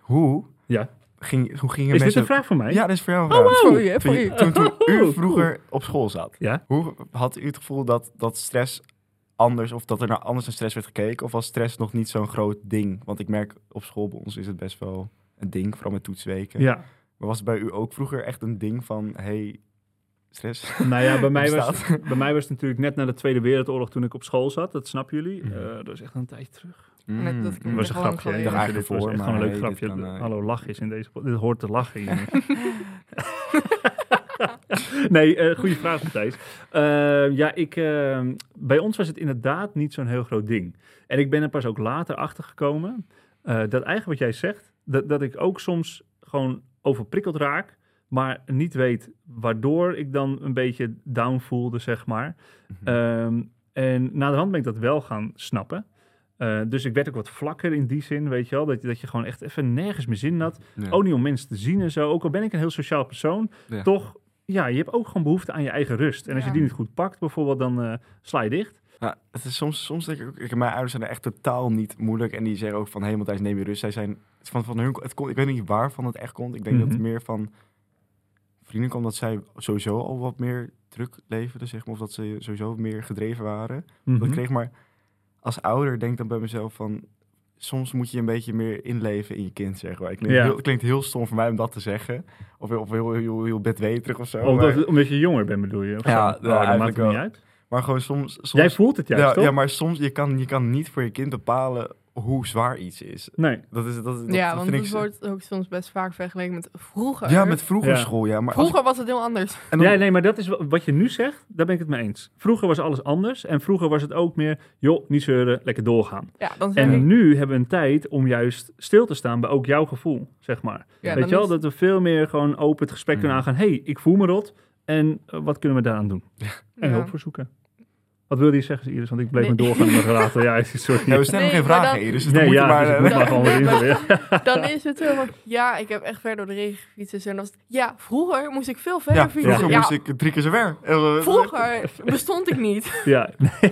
S2: Hoe?
S1: Ja.
S2: Ging, hoe gingen
S1: Is dit
S2: mensen...
S1: een vraag voor mij?
S2: Ja, dat is voor jou een vraag.
S3: Voor u, hè,
S2: Toen
S3: voor
S2: je-
S3: u.
S2: Toen, toen
S1: Oh.
S2: u vroeger op school zat,
S1: Ja.
S2: hoe had u het gevoel dat, dat stress anders, of dat er naar anders naar stress werd gekeken? Of was stress nog niet zo'n groot ding? Want ik merk op school bij ons is het best wel een ding, vooral met toetsweken.
S1: Ja.
S2: Maar was het bij u ook vroeger echt een ding van, hey, stress?
S1: Nou ja, bij mij, was,
S2: bestaat?
S1: bij mij was het natuurlijk net na de Tweede Wereldoorlog toen ik op school zat. Dat snappen jullie.
S2: Mhm.
S1: Eh, dat is echt een tijdje terug.
S3: Net dat ik-
S1: Dat was een
S3: Gewoon
S1: grapje. hè?
S3: geleden.
S1: Ja, dit was
S2: Eigenlijk
S1: echt
S2: voor,
S1: gewoon een leuk
S2: maar hey, dit
S1: grapje.
S2: kan, eh,
S1: Hallo, lach is in deze... pod- Dit hoort te lachen hier. nee, eh goede vraag, Matthijs. Eh, ja, ik, eh, bij ons was het inderdaad niet zo'n heel groot ding. En ik ben er pas ook later achter gekomen eh, dat eigenlijk wat jij zegt, dat, dat ik ook soms gewoon overprikkeld raak, maar niet weet waardoor ik dan een beetje down voelde, zeg maar.
S2: Mhm.
S1: Ehm, en naderhand ben ik dat wel gaan snappen. Eh, dus ik werd ook wat vlakker in die zin, weet je wel. Dat, dat je gewoon echt even nergens meer zin in had.
S2: Ja.
S1: Ook niet om mensen te zien en zo. Ook al ben ik een heel sociaal persoon,
S2: Ja.
S1: toch, ja, je hebt ook gewoon behoefte aan je eigen rust. En als je
S3: Ja.
S1: die niet goed pakt, bijvoorbeeld, dan eh, sla je dicht.
S2: Nou, het is soms, soms denk ik ook, ik- mijn ouders zijn er echt totaal niet moeilijk. En die zeggen ook van, hé hey, Matthijs, neem je rust. Zij zijn, van, van hun, het kon, ik weet niet waarvan het echt komt. Ik denk dat
S1: Mhm.
S2: het meer van vrienden kwam dat zij sowieso al wat meer druk leverden, zeg maar. Of dat ze sowieso meer gedreven waren.
S1: Mhm.
S2: Dat kreeg maar, als ouder denk ik dan bij mezelf van, soms moet je een beetje meer inleven in je kind, zeg maar. Het klinkt,
S1: Ja.
S2: heel, het klinkt heel stom voor mij om dat te zeggen. Of, heel- of heel, heel, heel bedweterig of zo.
S1: Of
S2: maar-
S1: dat- omdat je jonger bent, bedoel je? of
S2: Ja,
S1: zo? Oh,
S2: eh,
S1: dat
S2: ja,
S1: maakt
S2: eigenlijk
S1: het niet
S2: wel.
S1: uit.
S2: Maar gewoon soms... soms
S1: Jij voelt het juist,
S2: ja,
S1: toch?
S2: ja, maar soms, je kan, je kan niet voor je kind bepalen hoe zwaar iets is.
S1: Nee.
S2: Dat is, dat, dat,
S3: ja,
S2: dat
S3: want
S2: vind
S3: het
S2: ik...
S3: wordt ook soms best vaak vergeleken met vroeger.
S2: Ja, met vroeger
S1: Ja.
S2: school, ja. Maar als-
S3: Vroeger was het heel anders.
S2: en dan-
S1: Ja, nee, maar dat is wa- wat je nu zegt, daar ben ik het mee eens. Vroeger was alles anders en vroeger was het ook meer, joh, niet zeuren, lekker doorgaan.
S3: Ja, dan zeg
S1: En
S3: ik-
S1: nu hebben we een tijd om juist stil te staan bij ook jouw gevoel, zeg maar. Weet
S3: Ja, dan
S1: je wel,
S3: is-
S1: dat we veel meer gewoon open het gesprek
S2: Mm.
S1: kunnen aangaan. hey, ik voel me rot en eh, wat kunnen we daaraan doen? En
S3: ja.
S1: hulp voor zoeken. Wat wilde je zeggen, Iris? Want ik bleef
S3: Nee.
S1: me doorgaan met geraten. Ja, sorry.
S2: Ja, we stellen
S3: Nee,
S2: geen
S3: maar
S2: vragen,
S3: dan-
S2: Iris. Dus dan
S1: nee,
S2: moet je
S1: ja,
S2: maar...
S1: dus ik
S2: eh,
S1: moet maar gewoon weer in proberen.
S3: Dan is het helemaal... Ja, ik heb echt ver door de regen gefietst. En dan was het, ja, vroeger moest ik veel verder
S2: ja,
S3: fietsen.
S2: vroeger
S3: Ja,
S2: moest ik drie keer zo ver. Eh,
S3: Vroeger bestond ik niet.
S1: Ja,
S2: Ja,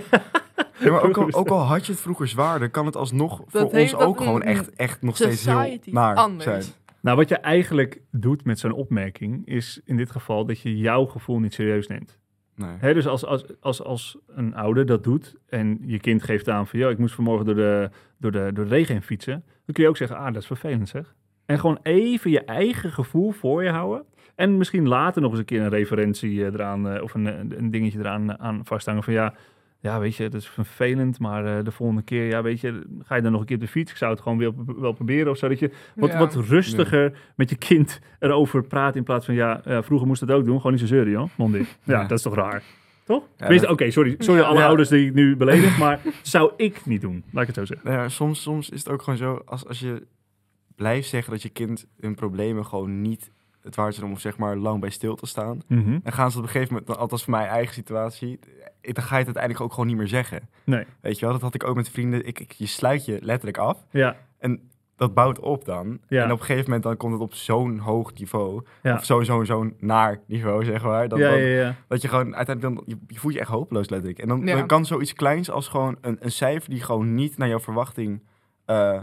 S2: eh, maar ook al, ook al had je het vroeger zwaarder, kan het alsnog voor
S3: heeft
S2: ons
S3: dat
S2: ook gewoon
S3: een
S2: echt, echt nog steeds heel
S3: Society
S2: naar
S3: anders.
S2: zijn.
S1: Nou, wat je eigenlijk doet met zo'n opmerking is in dit geval dat je jouw gevoel niet serieus neemt.
S2: Nee.
S1: Hè, dus als, als, als, als een ouder dat doet en je kind geeft aan van, joh, ik moest vanmorgen door de, door, de, door de regen heen fietsen, dan kun je ook zeggen, ah, dat is vervelend zeg. En gewoon even je eigen gevoel voor je houden. En misschien later nog eens een keer een referentie eh, eraan eh, of een, eh, een dingetje eraan eh, aan vasthangen van, ja, ja, weet je, dat is vervelend, maar eh, de volgende keer, ja, weet je, ga je dan nog een keer op de fiets? Ik zou het gewoon wel, wel proberen of zo, dat je wat,
S3: Ja.
S1: wat rustiger met je kind erover praat in plaats van ja, eh, vroeger moest dat ook doen. Gewoon niet zo zeuren, joh. Mondi. Ja,
S2: Ja.
S1: dat is toch raar? Toch? Tenminste,
S2: dat-
S1: Oké, sorry, sorry
S3: Ja.
S1: alle
S2: Ja.
S1: ouders die ik nu beledig, maar zou ik niet doen. Laat ik het zo zeggen.
S2: Nou ja, soms, soms is het ook gewoon zo, als, als je blijft zeggen dat je kind hun problemen gewoon niet het waard zijn om zeg maar lang bij stil te staan, dan gaan ze op een gegeven moment, althans voor mijn eigen situatie, dan ga je het uiteindelijk ook gewoon niet meer zeggen.
S1: Nee.
S2: Weet je wel, dat had ik ook met vrienden. Ik, ik, je sluit je letterlijk af.
S1: Ja,
S2: En dat bouwt op dan.
S1: Ja.
S2: En op een gegeven moment dan komt het op zo'n hoog niveau.
S1: Ja.
S2: Of zo'n zo'n zo'n naar niveau, zeg maar. Dat,
S1: ja,
S2: dan-
S1: ja, ja.
S2: dat je gewoon uiteindelijk... Dan, je, je voelt je echt hopeloos, letterlijk. En dan,
S3: Ja.
S2: dan kan zoiets kleins als gewoon een, een cijfer... die gewoon niet naar jouw verwachting eh,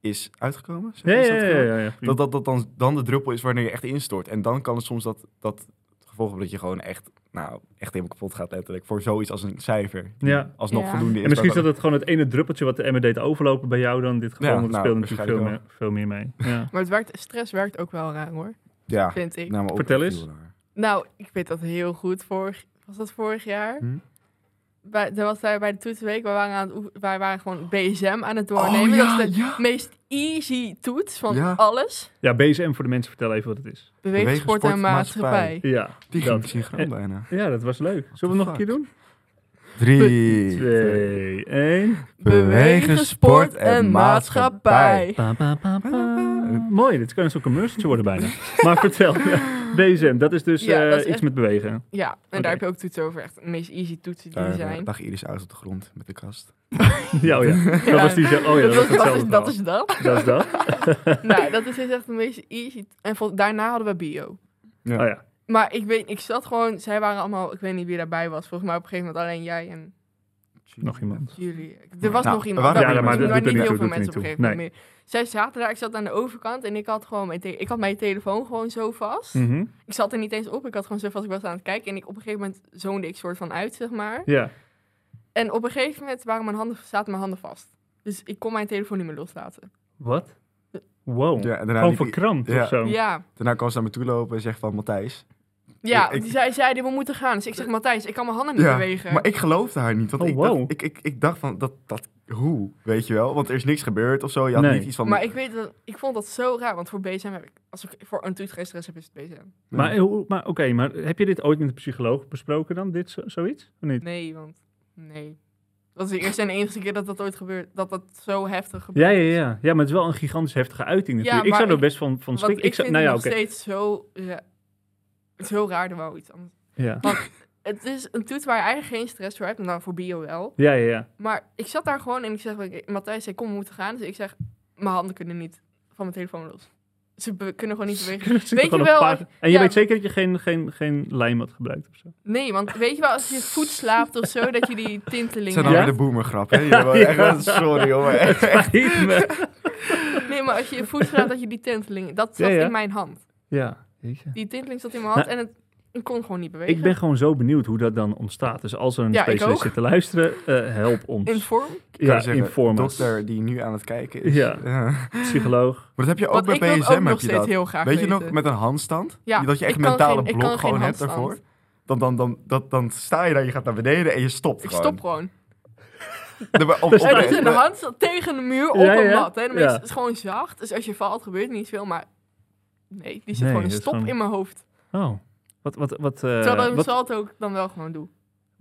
S2: is uitgekomen. Zeg-
S1: Ja,
S2: is
S1: ja,
S2: dat
S1: ja,
S2: gewoon?
S1: ja, ja.
S2: Dat, dat, dat dan, dan de druppel is wanneer je echt instort. En dan kan het soms dat, dat het gevolg hebben dat je gewoon echt... Nou, echt helemaal kapot gaat, letterlijk. Voor zoiets als een cijfer. die
S1: Ja.
S2: Alsnog
S3: Ja.
S2: voldoende is.
S1: En misschien is
S2: maar
S1: dat het gewoon het ene druppeltje wat de emmer deed overlopen bij jou dan in dit geval.
S2: Ja,
S1: want het
S2: nou,
S1: speelde natuurlijk veel meer,
S2: waarschijnlijk
S1: veel meer mee. Ja.
S3: Maar het werkt, stress werkt ook wel raar hoor,
S2: Ja.
S3: vind ik.
S2: Nou, maar ook
S1: Vertel eens.
S2: heel raar.
S3: Nou, ik weet dat heel goed. Vorig, was dat vorig jaar?
S2: Hm?
S3: Bij, er was daar bij de toetsenweek, we waren, aan het, oef- wij waren gewoon BSM aan het
S2: Oh,
S3: doornemen.
S2: ja,
S3: dat is de
S2: ja.
S3: meest easy toets van
S2: Ja.
S3: alles.
S1: ja, BSM voor de mensen, vertel even wat het is.
S3: Bewegen,
S2: Bewegen,
S3: sport
S2: sport,
S3: en maatschappij.
S1: Ja,
S2: Die ging
S1: dat.
S2: synchroon
S1: Nou, En-
S2: bijna.
S1: Ja, dat was leuk. Zullen we
S2: the
S1: het nog een keer
S2: fuck?
S1: doen?
S2: Drie,
S1: Twee, één.
S2: Bewegen, sport en maatschappij.
S1: Pa, pa, pa, pa. Eh, Mooi, dit kan een soort commercialtje worden bijna. maar vertel, ja, BSM, dat is dus
S3: Ja,
S1: eh,
S3: dat is
S1: iets
S3: echt-
S1: met bewegen.
S3: Ja, en
S1: Oké.
S3: daar heb je ook toetsen over. Echt de meest easy toetsen die
S2: Daar
S3: er zijn.
S2: lag Iris uit op de grond met de kast.
S1: Ja, oh ja. Dat was die zo. Oh ja, dat, was
S3: dat,
S1: hetzelfde
S3: is, dat is dat.
S1: verhaal. Dat is dat.
S3: nou, dat is dus echt de meest easy. En vol- daarna hadden we bio.
S1: Oh ja.
S3: Maar ik weet, ik zat gewoon, zij waren allemaal, ik weet niet wie daarbij was. Volgens mij op een gegeven moment alleen jij en
S1: Nog iemand.
S3: Jullie. Er was
S2: Nou,
S3: nog
S2: er
S3: iemand.
S2: waren
S3: Er
S2: er,
S3: waren
S2: maar dat
S3: niet- er
S1: doet er
S3: waren niet heel
S1: niet toe,
S3: veel
S1: doet er
S3: mensen op een
S1: niet
S3: gegeven moment meer. Zij zaten daar, ik zat aan de overkant en ik had gewoon mijn, te- ik had mijn telefoon gewoon zo vast.
S1: Mhm.
S3: Ik zat er niet eens op, ik had gewoon zo vast, ik was aan het kijken. En ik, op een gegeven moment zoonde ik soort van uit, zeg maar.
S1: Ja.
S3: En op een gegeven moment waren mijn handen, zaten mijn handen vast. Dus ik kon mijn telefoon niet meer loslaten.
S1: Wat? nou, Wow.
S2: Ja, en daarna,
S1: Gewoon
S2: liep ik-
S1: verkrampt
S2: Ja.
S1: of zo.
S3: Ja,
S2: daarna kwam ze naar me toe lopen en zegt van Matthijs.
S3: ja
S2: Ik- ik-
S3: die- zij zeiden we moeten gaan. Dus ik zeg, Matthijs, ik kan mijn handen niet bewegen.
S2: maar ik geloofde haar niet. Want
S1: Oh,
S2: ik,
S1: wow.
S2: dacht, ik, ik, ik dacht van, dat, dat, hoe? Weet je wel? Want er is niks gebeurd of zo. Je had
S1: Nee.
S2: niet iets van...
S3: Maar ik weet dat, ik vond dat zo raar, want voor BSM heb ik, als ik voor een toets geen stress heb, is het BSM.
S1: Maar, hoe- maar oké, maar heb je dit ooit met een psycholoog besproken dan? Dit zo- zoiets? Of niet?
S3: Nee, want nee. Dat is de eerste en enige keer dat dat ooit gebeurt. Dat dat zo heftig gebeurt.
S1: Ja, ja, ja. Ja, maar het is wel een gigantisch heftige uiting natuurlijk. ik
S3: maar
S1: zou er
S3: ik-
S1: best van, van
S3: Want
S1: schrikken.
S3: ik,
S1: zou,
S3: vind
S1: nou ja,
S3: het
S1: oké.
S3: nog steeds zo, ra- zo raar. Er wou iets anders.
S1: Ja.
S3: Het is een toets waar je eigenlijk geen stress voor hebt. Nou, voor bio wel.
S1: Ja, ja, ja.
S3: Maar ik zat daar gewoon en ik zeg... oké, Matthijs zei, kom, we moeten gaan. Dus ik zeg, mijn handen kunnen niet van mijn telefoon los. Ze be- kunnen gewoon niet bewegen.
S1: Weet
S3: je wel,
S1: En je
S3: ja.
S1: weet zeker dat je geen, geen, geen lijm had gebruikt of zo.
S3: Nee, want weet je wel, als je voet slaapt of zo... dat je die tinteling
S2: Het zijn dan
S1: Ja?
S2: weer de boomergrap, hè? Jullie hebben echt-
S1: Ja.
S2: Sorry, hoor. maar echt.
S3: hebt. Nee, maar als je je voet slaapt, dat je die tinteling... Dat
S1: Ja,
S3: zat
S1: ja.
S3: in mijn hand.
S1: Ja, weet je.
S3: Die tinteling zat in mijn hand en het, ik kon gewoon niet bewegen.
S1: Ik ben gewoon zo benieuwd hoe dat dan ontstaat. Dus als er een
S3: Ja, ik
S1: specialist
S3: ook.
S1: zit te luisteren, eh, help ons.
S3: in vorm.
S2: Ik
S1: ja,
S2: kan zeggen,
S1: inform ons.
S2: dokter die nu aan het kijken is.
S1: Ja. Psycholoog.
S2: Maar dat heb je ook
S3: Want
S2: bij
S3: ik wil het
S2: BSM,
S3: ook
S2: heb
S3: nog
S2: je
S3: steeds
S2: dat.
S3: heel graag
S2: Weet je
S3: weten.
S2: nog, met een handstand?
S3: Ja,
S2: dat je echt
S3: ik kan
S2: mentale
S3: geen- ik
S2: blok
S3: kan
S2: gewoon
S3: geen
S2: hebt
S3: handstand.
S2: daarvoor. dan, dan, dan, dat, dan sta je daar, je gaat naar beneden en je stopt
S3: Ik
S2: gewoon.
S3: stop gewoon.
S2: Nee, maar op-
S1: Er
S2: op-
S1: staat-
S3: Hij ligt in de hand zo- tegen de muur op
S1: Ja,
S3: een
S1: ja.
S3: mat. Hè. Dan
S1: Ja.
S3: is het gewoon zacht. Dus als je valt gebeurt niet veel. Maar nee, die zit
S1: Nee,
S3: gewoon een
S1: dat is
S3: stop
S1: gewoon-
S3: in mijn hoofd.
S1: Oh. Wat, wat, wat, eh,
S3: Terwijl dat ik
S1: wat,
S3: mijn salto ook dan wel gewoon doe.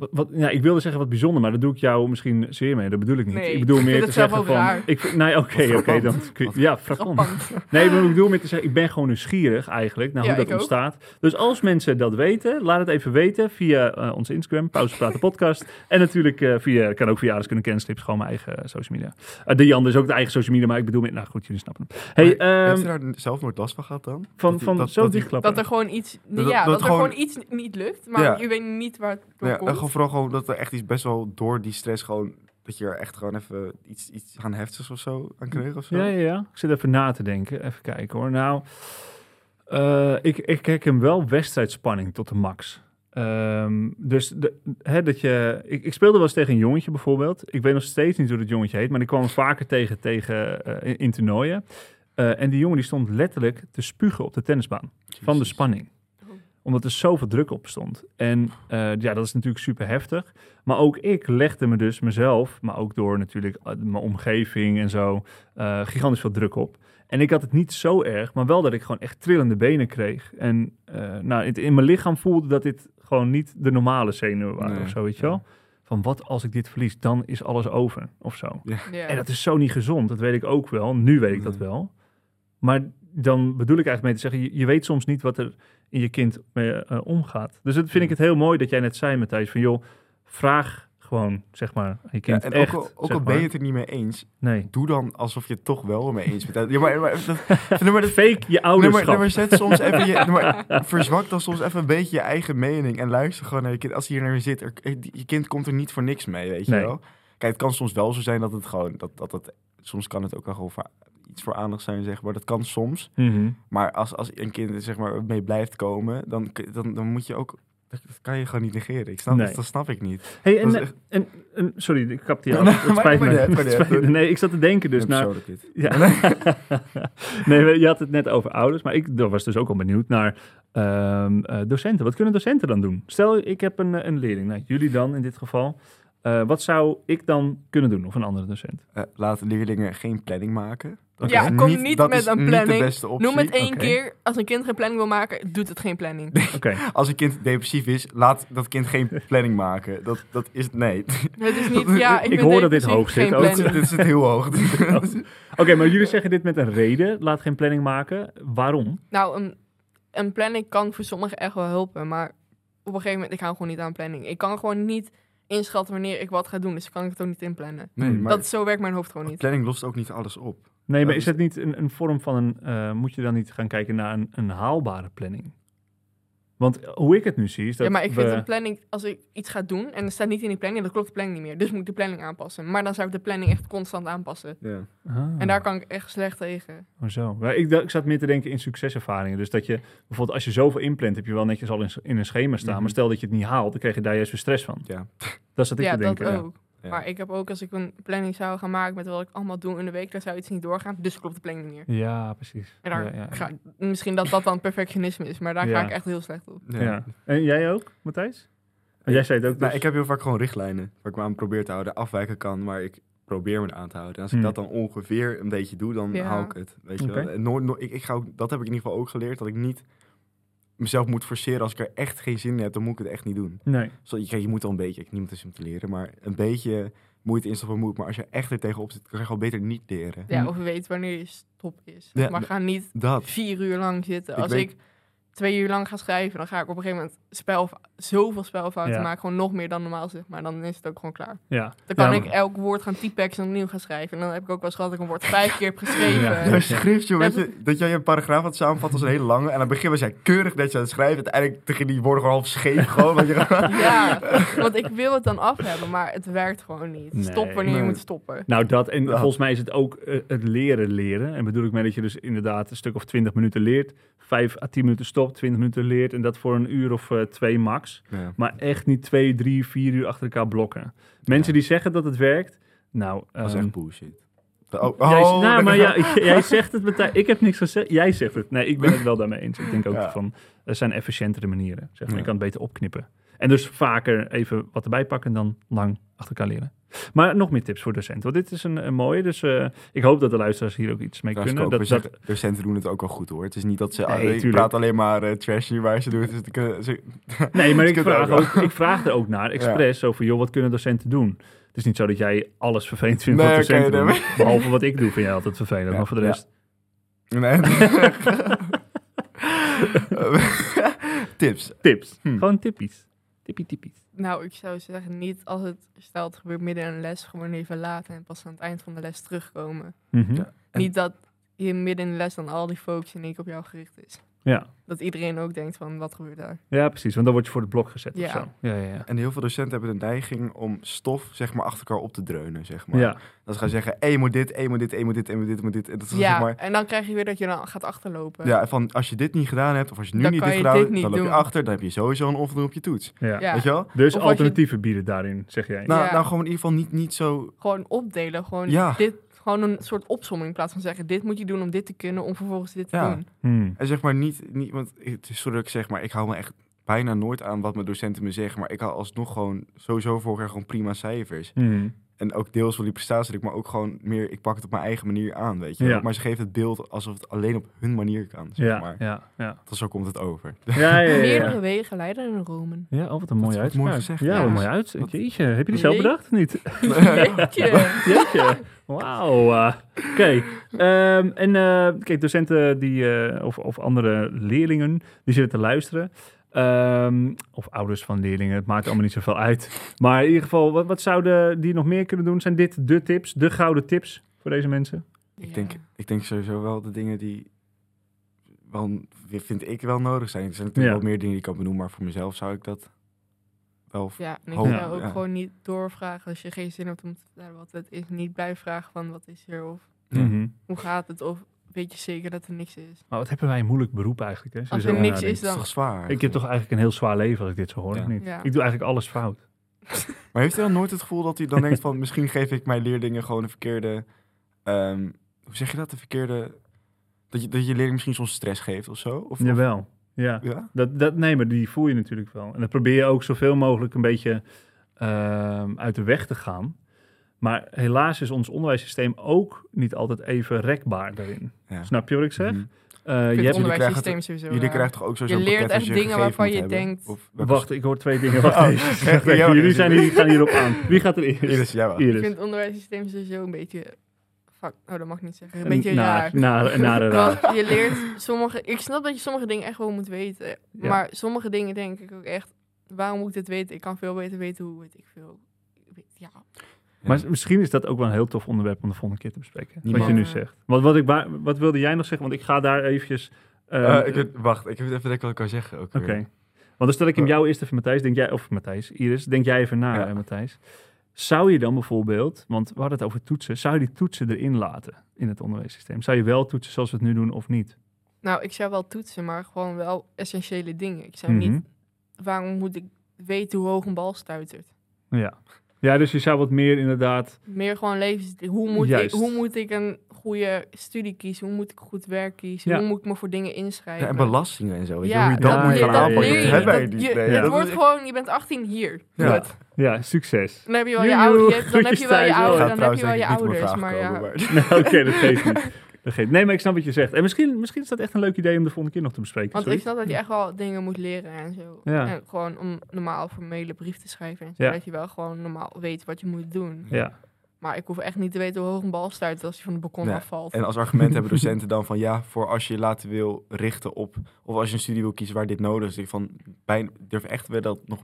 S1: wat, wat- ja, ik wilde zeggen wat bijzonder, maar dat doe ik jou misschien zeer mee. Dat bedoel ik niet.
S3: Nee,
S1: ik bedoel
S3: ik
S1: meer
S3: vind
S1: te
S3: het zelf
S1: zeggen
S3: ook
S1: van...
S3: raar.
S1: Ik, vind- nee, oké, oké.
S2: Frappant.
S1: dan kun je- ja, frappant.
S3: Grappant.
S1: Nee, maar ik bedoel meer te zeggen, ik ben gewoon nieuwsgierig eigenlijk naar
S3: Ja,
S1: hoe dat
S3: ik ook.
S1: ontstaat. Dus als mensen dat weten, laat het even weten via eh, onze Instagram, Pauze Praten Podcast. en natuurlijk eh, via, kan ook via Aris kunnen kennisclips, gewoon mijn eigen eh, social media. Eh, de Jan is ook de eigen social media, maar ik bedoel, met, nou goed, jullie snappen hem. Hey,
S2: Maar
S1: ehm,
S2: Heeft hij daar zelf nooit last van gehad dan?
S1: van,
S2: Dat die-
S1: van
S2: dat-
S1: zo
S2: dat die-
S1: dichtklappen.
S3: Dat er gewoon iets,
S2: Dat-
S3: ja,
S2: dat
S3: dat er
S2: gewoon-
S3: gewoon iets niet lukt. Maar
S2: Ja.
S3: je weet niet waar het door
S2: Ja, en
S3: komt.
S2: gewoon vooral gewoon dat er echt iets best wel door die stress gewoon... Dat je er echt gewoon even iets, iets aan heftigs of zo aan kreeg of zo.
S1: Ja, ja, ja. Ik zit even na te denken. Even kijken hoor. Nou, eh, ik, ik kijk hem wel wedstrijdspanning tot de max. Ehm, dus de, hè, dat je. Ik, ik speelde wel eens tegen een jongetje bijvoorbeeld. Ik weet nog steeds niet hoe dat jongetje heet, maar ik kwam hem vaker tegen, tegen eh, in, in toernooien. Eh, en die jongen die stond letterlijk te spugen op de tennisbaan van de spanning.
S3: Oh.
S1: Omdat er zoveel druk op stond. En eh, ja, dat is natuurlijk super heftig. Maar ook ik legde me dus mezelf, maar ook door natuurlijk eh, mijn omgeving en zo, eh, gigantisch veel druk op. En ik had het niet zo erg, maar wel dat ik gewoon echt trillende benen kreeg. En eh, nou, het in mijn lichaam voelde dat dit gewoon niet de normale zenuwen waren
S2: Nee,
S1: of zo, weet je wel. Van wat als ik dit verlies, dan is alles over of zo.
S3: Ja.
S1: En dat is zo niet gezond, dat weet ik ook wel. Nu weet ik dat
S2: Nee.
S1: wel. Maar dan bedoel ik eigenlijk mee te zeggen, je, je weet soms niet wat er in je kind mee eh, omgaat. Dus dat
S2: Mm.
S1: vind ik het heel mooi dat jij net zei, Matthijs, van joh, vraag gewoon, zeg maar, aan je
S2: Ja,
S1: kind
S2: en
S1: echt.
S2: ook al, ook
S1: zeg
S2: al ben je
S1: maar.
S2: het er niet mee eens,
S1: Nee.
S2: doe dan alsof je het toch wel mee eens bent. Ja, maar, maar, dat, nee, maar dat-
S1: Fake je
S2: nee, maar-
S1: ouderschap.
S2: nee, maar zet soms even je, nee, maar verzwak dan soms even een beetje je eigen mening en luister gewoon naar je kind. Als hij hier naar je zit, er- eh, je kind komt er niet voor niks mee, weet je
S1: Nee.
S2: wel. Kijk, het kan soms wel zo zijn dat het gewoon, dat, dat het, soms kan het ook wel gewoon voor- iets voor aandacht zijn, zeg maar. Dat kan soms.
S1: Mhm.
S2: Maar als, als een kind er, zeg maar, mee blijft komen, dan, kun- dan, dan moet je ook... Dat dat kan je gewoon niet negeren. Ik snap,
S1: Nee.
S2: Dat snap ik niet.
S1: Hey, en,
S2: Dat is
S1: eh,
S2: echt-
S1: en, en- sorry, ik kapte je
S2: Nee,
S1: af.
S2: nee,
S1: Het
S2: maar-
S1: spijt
S2: maar
S1: me.
S2: niet uit, maar
S1: Het
S2: niet uit.
S1: spijt me. Nee, ik zat te denken dus
S2: Ja,
S1: naar...
S2: persoonlijk dit.
S1: Ja. nee, je had het net over ouders, maar ik was dus ook al benieuwd naar ehm, eh, docenten. Wat kunnen docenten dan doen? Stel, ik heb een, eh, een leerling, nou, jullie dan in dit geval. Eh, wat zou ik dan kunnen doen, of een andere docent?
S2: Eh, laat leerlingen geen planning maken. Dat
S3: Ja,
S2: is
S3: kom niet
S2: dat
S3: met
S2: is
S3: een
S2: niet
S3: planning.
S2: de beste optie.
S3: Noem het één
S1: Oké.
S3: keer. Als een kind geen planning wil maken, doet het geen planning.
S1: Oké,
S2: Als een kind depressief is, laat dat kind geen planning maken. Dat, dat is nee.
S3: het is niet, ja, ik,
S1: Ik
S3: ben
S1: hoor dat dit
S3: depressief,
S1: hoog zit
S3: geen
S1: ook.
S2: Dat,
S3: planning.
S2: dit zit heel hoog.
S1: Oké, maar jullie zeggen dit met een reden. Laat geen planning maken. Waarom?
S3: Nou, een, een planning kan voor sommigen echt wel helpen, maar op een gegeven moment, ik hou gewoon niet aan planning. Ik kan gewoon niet inschatten wanneer ik wat ga doen, dus kan ik het ook niet inplannen.
S2: Nee, maar
S3: Dat, zo werkt mijn hoofd gewoon niet.
S2: planning lost ook niet alles op.
S1: Nee, maar
S2: Dat
S1: is
S2: is-
S1: het niet een, een vorm van een... eh, moet je dan niet gaan kijken naar een, een haalbare planning? Want hoe ik het nu zie is dus dat
S3: Ja, maar ik
S1: we...
S3: vind een planning, als ik iets ga doen en er staat niet in die planning, dan klopt de planning niet meer. Dus moet ik de planning aanpassen. Maar dan zou ik de planning echt constant aanpassen.
S2: Ja.
S1: Ah.
S3: En daar kan ik echt slecht tegen.
S1: Oh, zo. Maar ik, dacht- ik zat meer te denken in succeservaringen. Dus dat je bijvoorbeeld als je zoveel inplant, heb je wel netjes al in, in een schema staan.
S2: Mhm.
S1: Maar stel dat je het niet haalt, dan krijg je daar juist weer stress van.
S2: Ja.
S1: Dat is wat ik
S3: ja,
S1: te denken.
S3: dat
S1: ja.
S3: ook.
S2: Ja.
S3: Maar ik heb ook, als ik een planning zou gaan maken met wat ik allemaal doe in de week, dan zou iets niet doorgaan. Dus klopt de planning niet meer.
S1: Ja, precies.
S3: En daar
S1: ja, ja.
S3: Ga, misschien dat dat dan perfectionisme is, maar daar
S1: Ja.
S3: ga ik echt heel slecht op.
S2: Ja.
S1: Ja. En jij ook, Matthijs? Want jij zei het ook.
S2: Nou,
S1: dus.
S2: ik heb heel vaak gewoon richtlijnen waar ik me aan probeer te houden. Afwijken kan, maar ik probeer me eraan te houden. En als ik
S1: Hmm.
S2: dat dan ongeveer een beetje doe, dan
S3: Ja.
S2: hou ik het. Weet je
S1: Oké.
S2: wel. En nooit- nooit- ik, ik ga ook, dat heb ik in ieder geval ook geleerd, dat ik niet mezelf moet forceren. Als ik er echt geen zin in heb, dan moet ik het echt niet doen.
S1: Nee.
S2: Zo, je, kijk, je moet al een beetje, ik niemand is om te leren, maar een beetje moeite instoppen moet. Maar als je echt er tegenop zit, kan je gewoon beter niet leren.
S3: Ja,
S1: Hmm.
S3: of weet wanneer je stop is.
S2: Ja,
S3: maar
S2: maar-
S3: ga niet
S2: Dat.
S3: vier uur lang zitten.
S2: Ik
S3: Als
S2: weet-
S3: ik twee uur lang ga schrijven, dan ga ik op een gegeven moment spel, zoveel spelfouten
S1: Ja.
S3: maken. Gewoon nog meer dan normaal zeg maar. Dan is het ook gewoon klaar.
S1: Ja. Nou,
S3: Dan kan
S1: Ja,
S3: ik elk woord gaan typex en opnieuw gaan schrijven. En dan heb ik ook wel eens gehad dat ik een woord vijf keer heb geschreven.
S1: Ja.
S2: Ja, schrift, joh, weet je, dat jij een paragraaf had samenvat als een hele lange. En aan het begin was jij keurig netjes aan het schrijven. Uiteindelijk tegen die woorden gewoon half scheef. Gewoon, want je gewoon-
S3: Ja, want ik wil het dan af hebben, maar het werkt gewoon niet.
S1: Nee.
S3: Stop wanneer je
S2: Nee.
S3: moet stoppen.
S1: Nou, dat. En
S2: Ja.
S1: volgens mij is het ook eh, het leren leren. En bedoel ik mee dat je dus inderdaad een stuk of 20 minuten leert. 5 à 10 minuten stopt, 20 minuten leert. En dat voor een uur of eh, twee max. Maar echt niet twee, drie, vier uur achter elkaar blokken. Mensen die zeggen dat het werkt, nou...
S2: Dat is
S1: ehm,
S2: echt bullshit. Oh,
S1: jij,
S2: oh,
S1: nou, maar
S2: ja.
S1: ja, jij zegt het meteen. Ik heb niks gezegd. Jij zegt het. Nee, ik ben het wel daarmee eens. Ik denk ook
S2: Ja.
S1: van, er zijn efficiëntere manieren. Zeg maar.
S2: Ja.
S1: Je kan het beter opknippen. En dus vaker even wat erbij pakken dan lang achter elkaar leren. Maar nog meer tips voor docenten. Want dit is een, een mooie. Dus eh, ik hoop dat de luisteraars hier ook iets mee kunnen.
S2: dat,
S1: Dat, dat,
S2: docenten doen het ook wel goed hoor. Het is niet dat ze.
S1: Nee,
S2: ah, ik
S1: tuurlijk.
S2: praat alleen maar eh, trash hier waar ze doen. Dus ik, eh, ze-
S1: Nee, maar ik
S2: kunt
S1: vraag,
S2: ook
S1: ook, ik vraag er ook naar, expres, zo van, joh, wat kunnen docenten doen? Het is niet zo dat jij alles vervelend vindt
S2: Nee,
S1: wat docenten
S2: oké,
S1: doen.
S2: nee,
S1: Behalve wat ik doe, vind jij altijd vervelend.
S2: Ja,
S1: maar voor de
S2: ja.
S1: rest,
S2: nee. Tips.
S1: tips.
S2: Hm.
S1: Gewoon tippies. Tippie tippies.
S3: Nou, ik zou zeggen, niet als het, stel het gebeurt midden in een les, gewoon even laten en pas aan het eind van de les terugkomen.
S1: Mhm.
S2: Ja.
S1: Ja.
S2: En-
S3: Niet dat je midden in de les dan al die focus in één keer op jou gericht is. Dat iedereen ook denkt van, wat gebeurt daar?
S1: precies. Want dan word je voor het blok gezet
S3: Ja.
S1: of zo. Ja, ja, ja.
S2: En heel veel docenten hebben de neiging om stof zeg maar, achter elkaar op te dreunen. Zeg maar.
S1: ja.
S2: Dat ze gaan zeggen: één moet dit, één moet dit, één moet dit, één moet dit, één moet dit. En dat is
S3: ja,
S2: zeg maar.
S3: en dan krijg je weer dat je dan gaat achterlopen.
S2: Ja, van als je dit niet gedaan hebt, of als je nu
S3: Dan
S2: niet
S3: kan
S2: dit
S3: je
S2: gedaan
S3: dit
S2: hebt, dan
S3: niet
S2: loop je
S3: doen.
S2: achter, dan heb je sowieso een onvoldoende op je toets.
S1: Ja.
S3: Ja.
S2: Weet je wel?
S1: Dus
S3: Of als je-
S1: alternatieven bieden daarin, zeg jij.
S2: Nou,
S3: Ja.
S2: nou, gewoon in ieder geval niet, niet zo.
S3: Gewoon opdelen, gewoon,
S2: Ja.
S3: dit, gewoon een soort opsomming in plaats van zeggen, dit moet je doen om dit te kunnen, om vervolgens dit te
S2: Ja.
S3: doen.
S1: Hmm.
S2: En eh, zeg maar niet, niet want het is zo dat ik zeg, maar ik hou me echt bijna nooit aan wat mijn docenten me zeggen. Maar ik haal alsnog gewoon sowieso vorig jaar gewoon prima cijfers.
S1: Hmm.
S2: En ook deels van die prestatiedruk, maar ook gewoon meer, ik pak het op mijn eigen manier aan, weet je.
S1: Ja.
S2: Maar ze geeft het beeld alsof het alleen op hun manier kan, zeg
S1: Ja,
S2: maar.
S1: ja, ja.
S2: Dat zo komt het over.
S1: Ja, ja, ja, ja.
S3: Meerdere wegen leiden in Rome.
S1: Ja, oh, wat een mooie
S2: Dat is
S1: uitspraak.
S2: wat mooi gezegd,
S1: ja,
S3: ja.
S1: wat een mooie uitspraak. Jeetje, heb je die zelf
S3: Nee.
S1: bedacht of niet?
S3: Jeetje.
S1: Jeetje. Wauw. eh. Oké. Ehm, en eh, kijk, docenten die, eh, of, of andere leerlingen die zitten te luisteren. ehm, of ouders van leerlingen, het maakt allemaal niet zoveel uit. Maar in ieder geval, wat, wat zouden die nog meer kunnen doen? Zijn dit de tips, de gouden tips voor deze mensen?
S2: Ik, denk, ik denk sowieso wel de dingen die wel, vind ik wel nodig zijn. Er zijn natuurlijk
S1: Ja.
S2: wel meer dingen die ik kan benoemen, maar voor mezelf zou ik dat wel...
S3: Ja, en ik
S2: Hoop-
S3: zou ook
S2: ja.
S3: gewoon niet doorvragen als je geen zin hebt om te vertellen wat het is. Niet blijven vragen van wat is er of
S2: Ja.
S1: Mhm.
S3: hoe gaat het of weet je zeker dat er
S2: Eh,
S3: niks is.
S1: Maar wat hebben wij een moeilijk beroep eigenlijk? Hè?
S3: Als
S1: Zo
S3: er
S1: zo
S3: niks
S1: nadenken.
S3: is
S2: Het is
S3: dan...
S2: toch zwaar?
S1: Ik heb toch eigenlijk een heel zwaar leven als ik dit zo hoor,
S2: Ja.
S1: of niet?
S3: Ja.
S1: Ik doe eigenlijk alles fout.
S2: Maar heeft u dan nooit het gevoel dat u dan denkt van... misschien geef ik mijn leerlingen gewoon een verkeerde... ehm, hoe zeg je dat? De verkeerde... Dat je, dat je leerling misschien soms stress geeft of zo? Of,
S1: Jawel. Ja.
S2: Ja?
S1: Dat, dat, nee, maar die voel je natuurlijk wel. En dan probeer je ook zoveel mogelijk een beetje ehm, uit de weg te gaan. Maar helaas is ons onderwijssysteem ook niet altijd even rekbaar daarin.
S2: Ja.
S1: Snap je wat ik zeg?
S2: Mhm.
S1: Eh,
S3: Ik
S1: je
S3: vind
S1: hebt...
S3: het
S2: Jullie krijgen
S3: onderwijssysteem sowieso
S2: Jullie
S3: raar.
S2: krijgen toch ook sowieso
S3: Je
S2: een
S3: leert
S2: pakket
S3: echt
S2: dat
S3: dingen
S2: gegeven
S3: waarvan
S2: moet
S3: je
S2: hebben?
S3: denkt-
S2: Of welke-
S1: Wacht, ik hoor twee dingen. Wacht
S2: Oh.
S1: even.
S2: Ja, maar-
S1: Jullie zijn hier, gaan hierop aan. Wie gaat er eerst?
S2: Iris, jij wel.
S1: Iris.
S3: Ik vind het onderwijssysteem sowieso een beetje... Fuck, oh dat mag ik niet zeggen. Een
S1: Een
S3: beetje
S2: nou,
S1: naar,
S3: raar.
S1: naar, nare raar.
S3: Want je leert sommige... Ik snap dat je sommige dingen echt wel moet weten.
S1: Ja.
S3: Maar sommige dingen denk ik ook echt... Waarom moet ik dit weten? Ik kan veel beter weten hoe weet ik veel. Ik weet- Ja,
S1: Maar s- misschien is dat ook wel een heel tof onderwerp om de volgende keer te bespreken. Wat
S2: Niemand.
S1: je nu zegt. Wat, wat, ik, wa- wat wilde jij nog zeggen? Want ik ga daar eventjes... eh,
S2: Eh, ik weet- wacht, ik heb even denken wat ik kan zeggen. ook weer.
S1: Oké. Want dan stel ik hem jou eerst even, Matthijs. Denk jij, of Matthijs, Iris, denk jij even na,
S2: Ja.
S1: hè, Matthijs. Zou je dan bijvoorbeeld, want we hadden het over toetsen, zou je die toetsen erin laten in het onderwijssysteem? Zou je wel toetsen zoals we het nu doen of niet?
S3: Nou, ik zou wel toetsen, maar gewoon wel essentiële dingen. Ik zou
S1: Mhm.
S3: niet... Waarom moet ik weten hoe hoog een bal stuitert?
S1: Ja. Ja, dus je zou wat meer inderdaad.
S3: Meer gewoon levens... Hoe moet, ik,
S1: Juist.
S3: hoe moet ik een goede studie kiezen? Hoe moet ik goed werk kiezen?
S1: Ja.
S3: Hoe moet ik me voor dingen inschrijven?
S2: Ja, en belastingen en zo. weet je,
S3: Ja,
S2: hoe je dat
S1: dat
S2: moet
S1: leer
S2: gaan
S1: je- dat
S2: aanpakken. Dat
S1: leer je-
S2: hebben wij
S3: dat
S2: niet.
S3: je-
S2: nee.
S1: Ja.
S3: Het
S2: Dat
S3: wordt
S2: is-
S3: gewoon... Je bent 18 hier.
S1: Oh,
S2: Ja.
S3: Goed.
S1: Ja, succes.
S3: Dan heb je wel je
S1: Joejoe,
S3: ouders, je hebt- dan heb
S1: groetjes
S3: je wel je
S1: thuis.
S2: Gaat
S3: ouders, dan heb
S2: trouwens
S3: je wel je
S2: denk ik niet
S3: ouders.
S2: op mijn
S3: Maar
S2: vraag
S3: ja,
S2: komen, maar-
S1: Nee, Oké, dat geeft niet. Dat geeft- Nee, maar ik snap wat je zegt. En misschien, misschien is dat echt een leuk idee om de volgende keer nog te bespreken.
S3: want ik
S1: zoiets.
S3: snap dat je echt wel dingen moet leren en zo.
S1: Ja.
S3: En gewoon om normaal formele brief te schrijven. En zo,
S1: Ja.
S3: Dat je wel gewoon normaal weet wat je moet doen.
S1: Ja,
S3: Maar ik hoef echt niet te weten hoe hoog een bal stuit als hij van de balkon
S2: Nee.
S3: afvalt.
S2: En als argument hebben docenten dan van ja, voor als je je later wil richten op, of als je een studie wil kiezen waar dit nodig is. Ik van, bijna, durf echt wel dat nog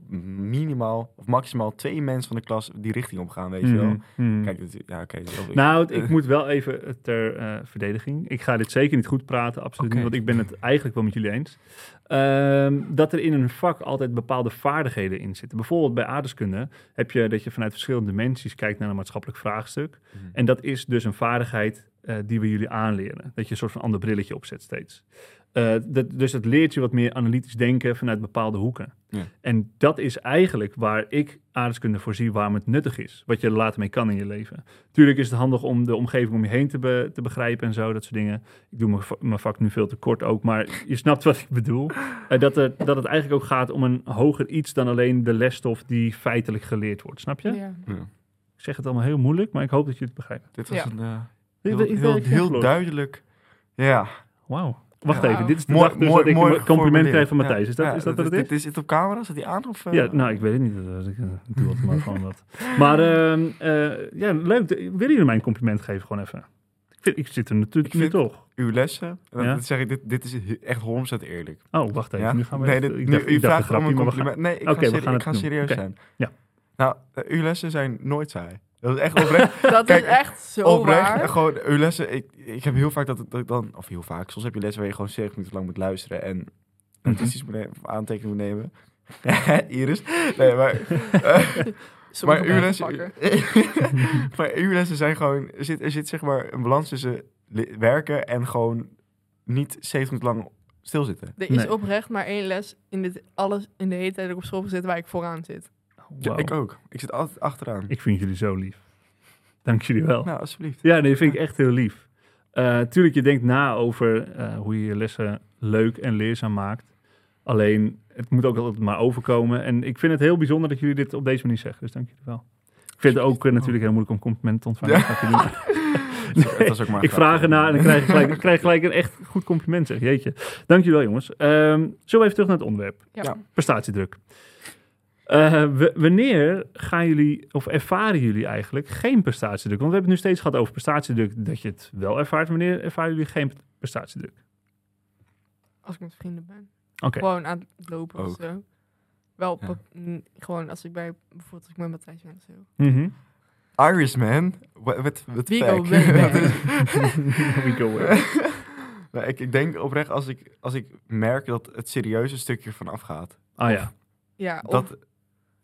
S2: minimaal of maximaal twee mensen van de klas die richting op gaan, weet je wel.
S1: Mhm, mhm.
S2: Kijk, dat- ja, oké. dat-
S1: Nou, het- ik moet wel even eh, ter eh, verdediging. Ik ga dit zeker niet goed praten, absoluut
S2: Oké.
S1: niet, want ik ben het eigenlijk wel met jullie eens. Ehm, dat er in een vak altijd bepaalde vaardigheden in zitten. Bijvoorbeeld bij aardeskunde heb je dat je vanuit verschillende dimensies kijkt naar een maatschappelijk vraagstuk.
S2: Mhm.
S1: En dat is dus een vaardigheid eh, die we jullie aanleren. Dat je een soort van ander brilletje opzet steeds. Eh, dat, dus dat leert je wat meer analytisch denken vanuit bepaalde hoeken.
S2: Ja.
S1: En dat is eigenlijk waar ik aardrijkskunde voor zie waarom het nuttig is. Wat je er later mee kan in je leven. Tuurlijk is het handig om de omgeving om je heen te, be- te begrijpen en zo, dat soort dingen. Ik doe mijn va- mijn vak nu veel te kort ook, maar je snapt wat ik bedoel. Eh, dat, er, dat het eigenlijk ook gaat om een hoger iets dan alleen de lesstof die feitelijk geleerd wordt. Snap je?
S3: Ja.
S1: Ik zeg het allemaal heel moeilijk, maar ik hoop dat je het begrijpt.
S2: Dit was
S3: Ja.
S2: een eh,
S1: Ik
S2: heel,
S1: ben- ik ben
S2: heel,
S1: echt
S2: heel
S1: verloren.
S2: duidelijk. Ja.
S1: Wauw. Wacht
S3: Ja.
S1: even, dit is de
S2: Mooi,
S1: dag dus
S2: mooi,
S1: dat ik
S2: mooi
S1: een compliment
S2: geformuleerd.
S1: krijg van
S2: Ja.
S1: Matthijs. Is dat,
S2: Ja,
S1: is dat wat het is?
S2: dit- Is het op camera? Zit die aan? Of, eh?
S1: Ja, nou, ik weet het niet. Dat- Ik eh, doe altijd maar gewoon wat. Maar ehm, eh, ja, leuk. Willen jullie mij een compliment geven gewoon even? Ik, vind, ik zit er natuurlijk
S2: Ik
S1: nu
S2: vind-
S1: toch.
S2: Uw lessen? Dat,
S1: Ja.
S2: dat zeg ik, dit, dit is he- echt 100% eerlijk.
S1: Oh, wacht even.
S2: Ja?
S1: Nu gaan we
S2: nee,
S1: echt-
S2: dit,
S1: ik
S2: nu-
S1: dacht,
S2: u
S1: ik dacht een
S2: vraagt om
S1: grapje,
S2: een
S1: maar we gaan-
S2: compliment. Nee, ik
S1: Oké, we
S2: ga, seri-
S1: gaan
S2: ik
S1: het
S2: ga
S1: doen.
S2: serieus
S1: Oké.
S2: zijn.
S1: Ja.
S2: Nou, eh, uw lessen zijn nooit saai. Dat is echt oprecht.
S3: Dat
S2: Kijk,
S3: is echt zo
S2: Oprecht,
S3: waar.
S2: gewoon uw lessen. Ik, ik heb heel vaak dat, dat ik dan, of heel vaak, soms heb je lessen waar je gewoon 70 minuten lang moet luisteren en
S1: Mhm.
S2: notities moet nemen, of aantekeningen moet nemen. Iris. Nee, maar, eh, maar,
S3: Sommige
S2: uw
S3: mensen
S2: lessen,
S3: pakken.
S2: maar uw lessen zijn gewoon, er zit, er zit zeg maar een balans tussen le- werken en gewoon niet 70 minuten lang stilzitten.
S3: Er is
S1: Nee.
S3: oprecht maar één les in dit alles in de hele tijd dat ik op school zit waar ik vooraan zit.
S2: Ja,
S1: Wauw.
S2: ik ook. Ik zit altijd achteraan.
S1: Ik vind jullie zo lief. Dank jullie wel.
S2: Nou, alsjeblieft.
S1: Ja, nee, vind ik echt heel lief. Eh, tuurlijk, je denkt na over eh, hoe je je lessen leuk en leerzaam maakt. Alleen, het moet ook altijd maar overkomen. En ik vind het heel bijzonder dat jullie dit op deze manier zeggen. Dus dank jullie wel. Ik vind het ook eh, natuurlijk heel moeilijk om complimenten te ontvangen.
S2: Ja.
S1: Dat gaat jullie-
S2: Het was ook maar
S1: ik
S2: grappig.
S1: vraag erna en dan krijg ik gelijk, ik krijg gelijk een echt goed compliment. Zeg. Jeetje. Dankjewel jongens. Ehm zullen we even terug naar het onderwerp.
S3: Ja.
S2: Ja.
S1: Prestatiedruk. Eh, w- wanneer gaan jullie, of ervaren jullie eigenlijk geen prestatiedruk? Want we hebben het nu steeds gehad over prestatiedruk, dat je het wel ervaart. Wanneer ervaren jullie geen prestatiedruk?
S3: Als ik met vrienden ben.
S1: Oké,
S3: Gewoon aan het lopen of
S2: Ook.
S3: zo. Wel, op-
S2: Ja.
S3: mm, gewoon als ik bij, bijvoorbeeld als ik met Matthijs ben of zo.
S1: Mhm.
S2: Irishman. Wat, wat, wat
S3: We
S2: fact.
S3: go way back.
S1: we go away.
S2: Nou, ik, ik denk oprecht als ik, als ik merk dat het serieuze stukje vanaf gaat.
S1: Ah ja,
S3: Ja, of
S2: Dat,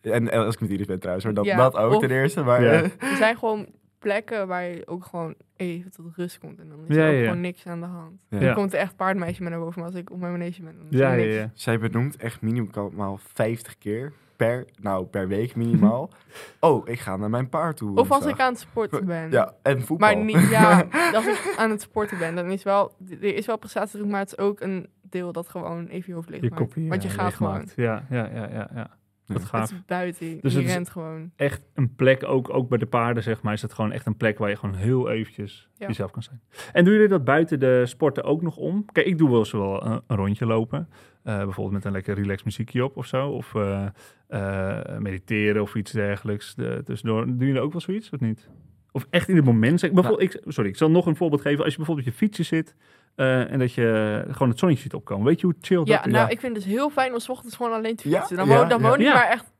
S2: en, en als ik met iedereen ben trouwens, maar dat,
S3: Ja,
S2: dat ook
S3: of-
S2: ten eerste. Maar,
S1: Ja.
S2: eh,
S3: er zijn gewoon plekken waar je ook gewoon even tot rust komt. En dan is
S1: Ja,
S3: er ook
S1: ja, ja.
S3: gewoon niks aan de hand.
S2: Ja.
S3: Dan komt er echt paardmeisje met naar boven. Maar als ik op mijn manege ben, dan is
S1: ja,
S3: er
S1: ja,
S3: niks.
S1: ja.
S2: Zij benoemt echt minimaal 50 keer per, nou, per week minimaal. oh, ik ga naar mijn paard toe.
S3: Of als ik
S2: woensdag.
S3: aan het sporten ben.
S2: Ja, en voetbal.
S3: Maar niet, ja, als ik aan het sporten ben, dan is wel, er is wel prestatiedruk, maar het is ook een deel dat gewoon even je hoofd leeg
S1: Je
S3: maakt.
S1: kopie.
S3: Want je
S1: ja,
S3: gaat gewoon.
S1: leegmaakt. Ja, ja, ja, ja. ja.
S2: Ja.
S1: Wat
S3: Het
S1: gaaf.
S3: is buiten,
S1: Dus
S3: je
S1: het is-
S3: rent gewoon.
S1: echt een plek, ook, ook bij de paarden zeg maar, is dat gewoon echt een plek waar je gewoon heel eventjes
S3: Ja.
S1: jezelf kan zijn. En doen jullie dat buiten de sporten ook nog om? Kijk, ik doe wel eens wel een, een rondje lopen. Eh, bijvoorbeeld met een lekker relaxed muziekje op of zo. Of eh, eh, mediteren of iets dergelijks eh, tussendoor. Doen jullie ook wel zoiets of niet? Of echt in het moment? Zeg, bijvoorbeeld,
S3: Nou.
S1: ik, sorry, ik zal nog een voorbeeld geven. Als je bijvoorbeeld op je fietsje zit eh, en dat je gewoon het zonnetje ziet opkomen. Weet je hoe chill
S3: Ja,
S1: dat is?
S3: nou, ik vind het dus heel fijn om 's ochtends gewoon alleen te
S2: Ja,
S3: fietsen. Dan,
S2: ja,
S3: woon, dan
S2: ja.
S3: woon ik
S1: Ja.
S3: maar echt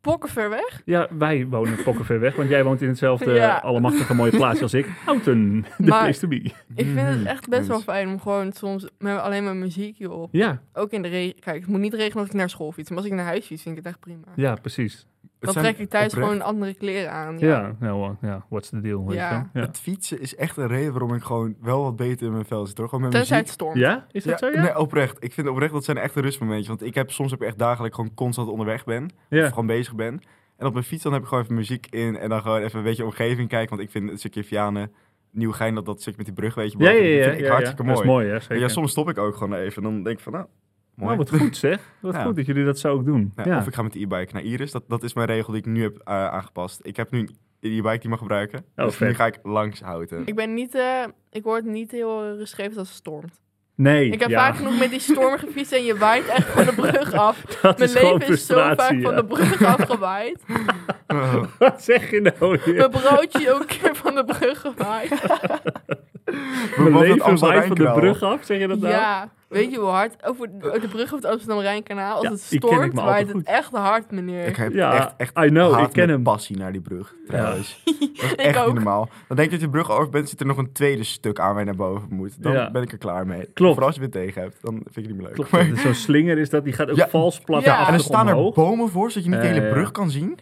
S3: pokken ver weg.
S1: Ja, wij wonen pokken ver weg, want jij woont in hetzelfde
S3: Ja.
S1: allemachtige mooie plaatsje als ik. Houten, de
S3: Maar-
S1: place to be.
S3: Ik vind
S1: Mm.
S3: het echt best wel
S2: Eens.
S3: fijn om gewoon soms met, alleen mijn muziekje op.
S1: Ja,
S3: Ook in de regen. Kijk, het moet niet regenen als ik naar school fiets. Maar als ik naar huis fiets, vind ik het echt prima.
S1: ja, precies.
S2: Het
S3: Dan
S2: zijn
S3: trek ik thuis
S2: oprecht-
S3: gewoon andere kleren aan.
S1: Ja, ja, well, ja, what's the deal? weet je
S3: Ja.
S1: wel. Ja.
S2: Het fietsen is echt een reden waarom ik gewoon wel wat beter in mijn vel zit. Hoor. Gewoon met
S3: Tenzij
S2: muziek.
S3: het stormt.
S1: Ja, is dat zo? Ja?
S2: Nee, oprecht. Ik vind oprecht dat zijn echt een rustmomentje. Want ik heb soms heb ik echt dagelijks gewoon constant onderweg ben. Of
S1: ja.
S2: gewoon bezig ben. En op mijn fiets dan heb ik gewoon even muziek in. En dan gewoon even een beetje omgeving kijken. Want ik vind het stukje Vianen, Nieuwgein, dat, dat stukje met die brug, weet je.
S1: Ja, ja,
S2: boven,
S1: ja,
S2: dat
S1: ja,
S2: vind ik
S1: ja,
S2: hartstikke
S1: Dat is
S2: mooi.
S1: mooi, hè? Zeker.
S2: Ja, soms stop ik ook gewoon even. En dan denk ik van, nou, mooi.
S1: Nou, wat goed zeg. Wat
S2: Ja.
S1: goed dat jullie dat zo ook doen.
S2: Ja,
S1: Ja,
S2: Of ik ga met de e-bike naar Iris. Dat, dat is mijn regel die ik nu heb eh, aangepast. Ik heb nu een e-bike die ik mag gebruiken.
S1: Oh,
S2: dus nu
S1: vet.
S2: ga ik langs houden.
S3: Ik ben niet, eh, ik word niet heel eh, rustgevend als het stormt.
S1: Nee,
S3: Ik heb
S1: ja.
S3: vaak genoeg met die storm gefietst en je waait echt van de brug af.
S1: dat
S3: Mijn
S1: is gewoon
S3: leven is zo
S1: frustratie.
S3: vaak
S1: ja.
S3: van de brug af gewaaid.
S2: Oh.
S1: Wat zeg je nou weer?
S3: Mijn broodje ook een keer van de brug gewaaid.
S2: We
S1: Mijn
S2: wonen in
S1: leven waait van de
S2: Amsterdam-Rijnkanaal.
S1: brug af, zeg je dat nou?
S3: Ja, weet je hoe hard? Over de brug over het Amsterdam-Rijnkanaal. Als
S1: Ja,
S3: het
S1: die ken ik me
S3: stormt,
S1: altijd
S3: waait het
S1: goed.
S3: echt hard,
S2: Ik
S3: meneer.
S2: heb
S1: Ja,
S2: echt, echt
S1: I know,
S2: haat
S1: ik ken
S2: met
S1: hem.
S2: passie naar die brug, trouwens. Dat is echt
S3: ook.
S2: niet normaal. Dan denk je dat je brug over bent, zit er nog een tweede stuk aan waar je naar boven moet. Dan
S1: Ja.
S2: ben ik er klaar mee.
S1: Klopt.
S2: Vooral als je het tegen hebt, dan vind ik het niet meer leuk.
S1: Klopt,
S2: Maar-
S1: dat is zo'n slinger is dat, die gaat ook
S2: Ja.
S1: vals plat
S3: Ja.
S2: en
S1: achteraf
S2: er staan er
S1: omhoog.
S2: bomen voor, zodat je niet de
S1: Ja,
S2: hele
S1: ja, ja.
S2: brug kan zien.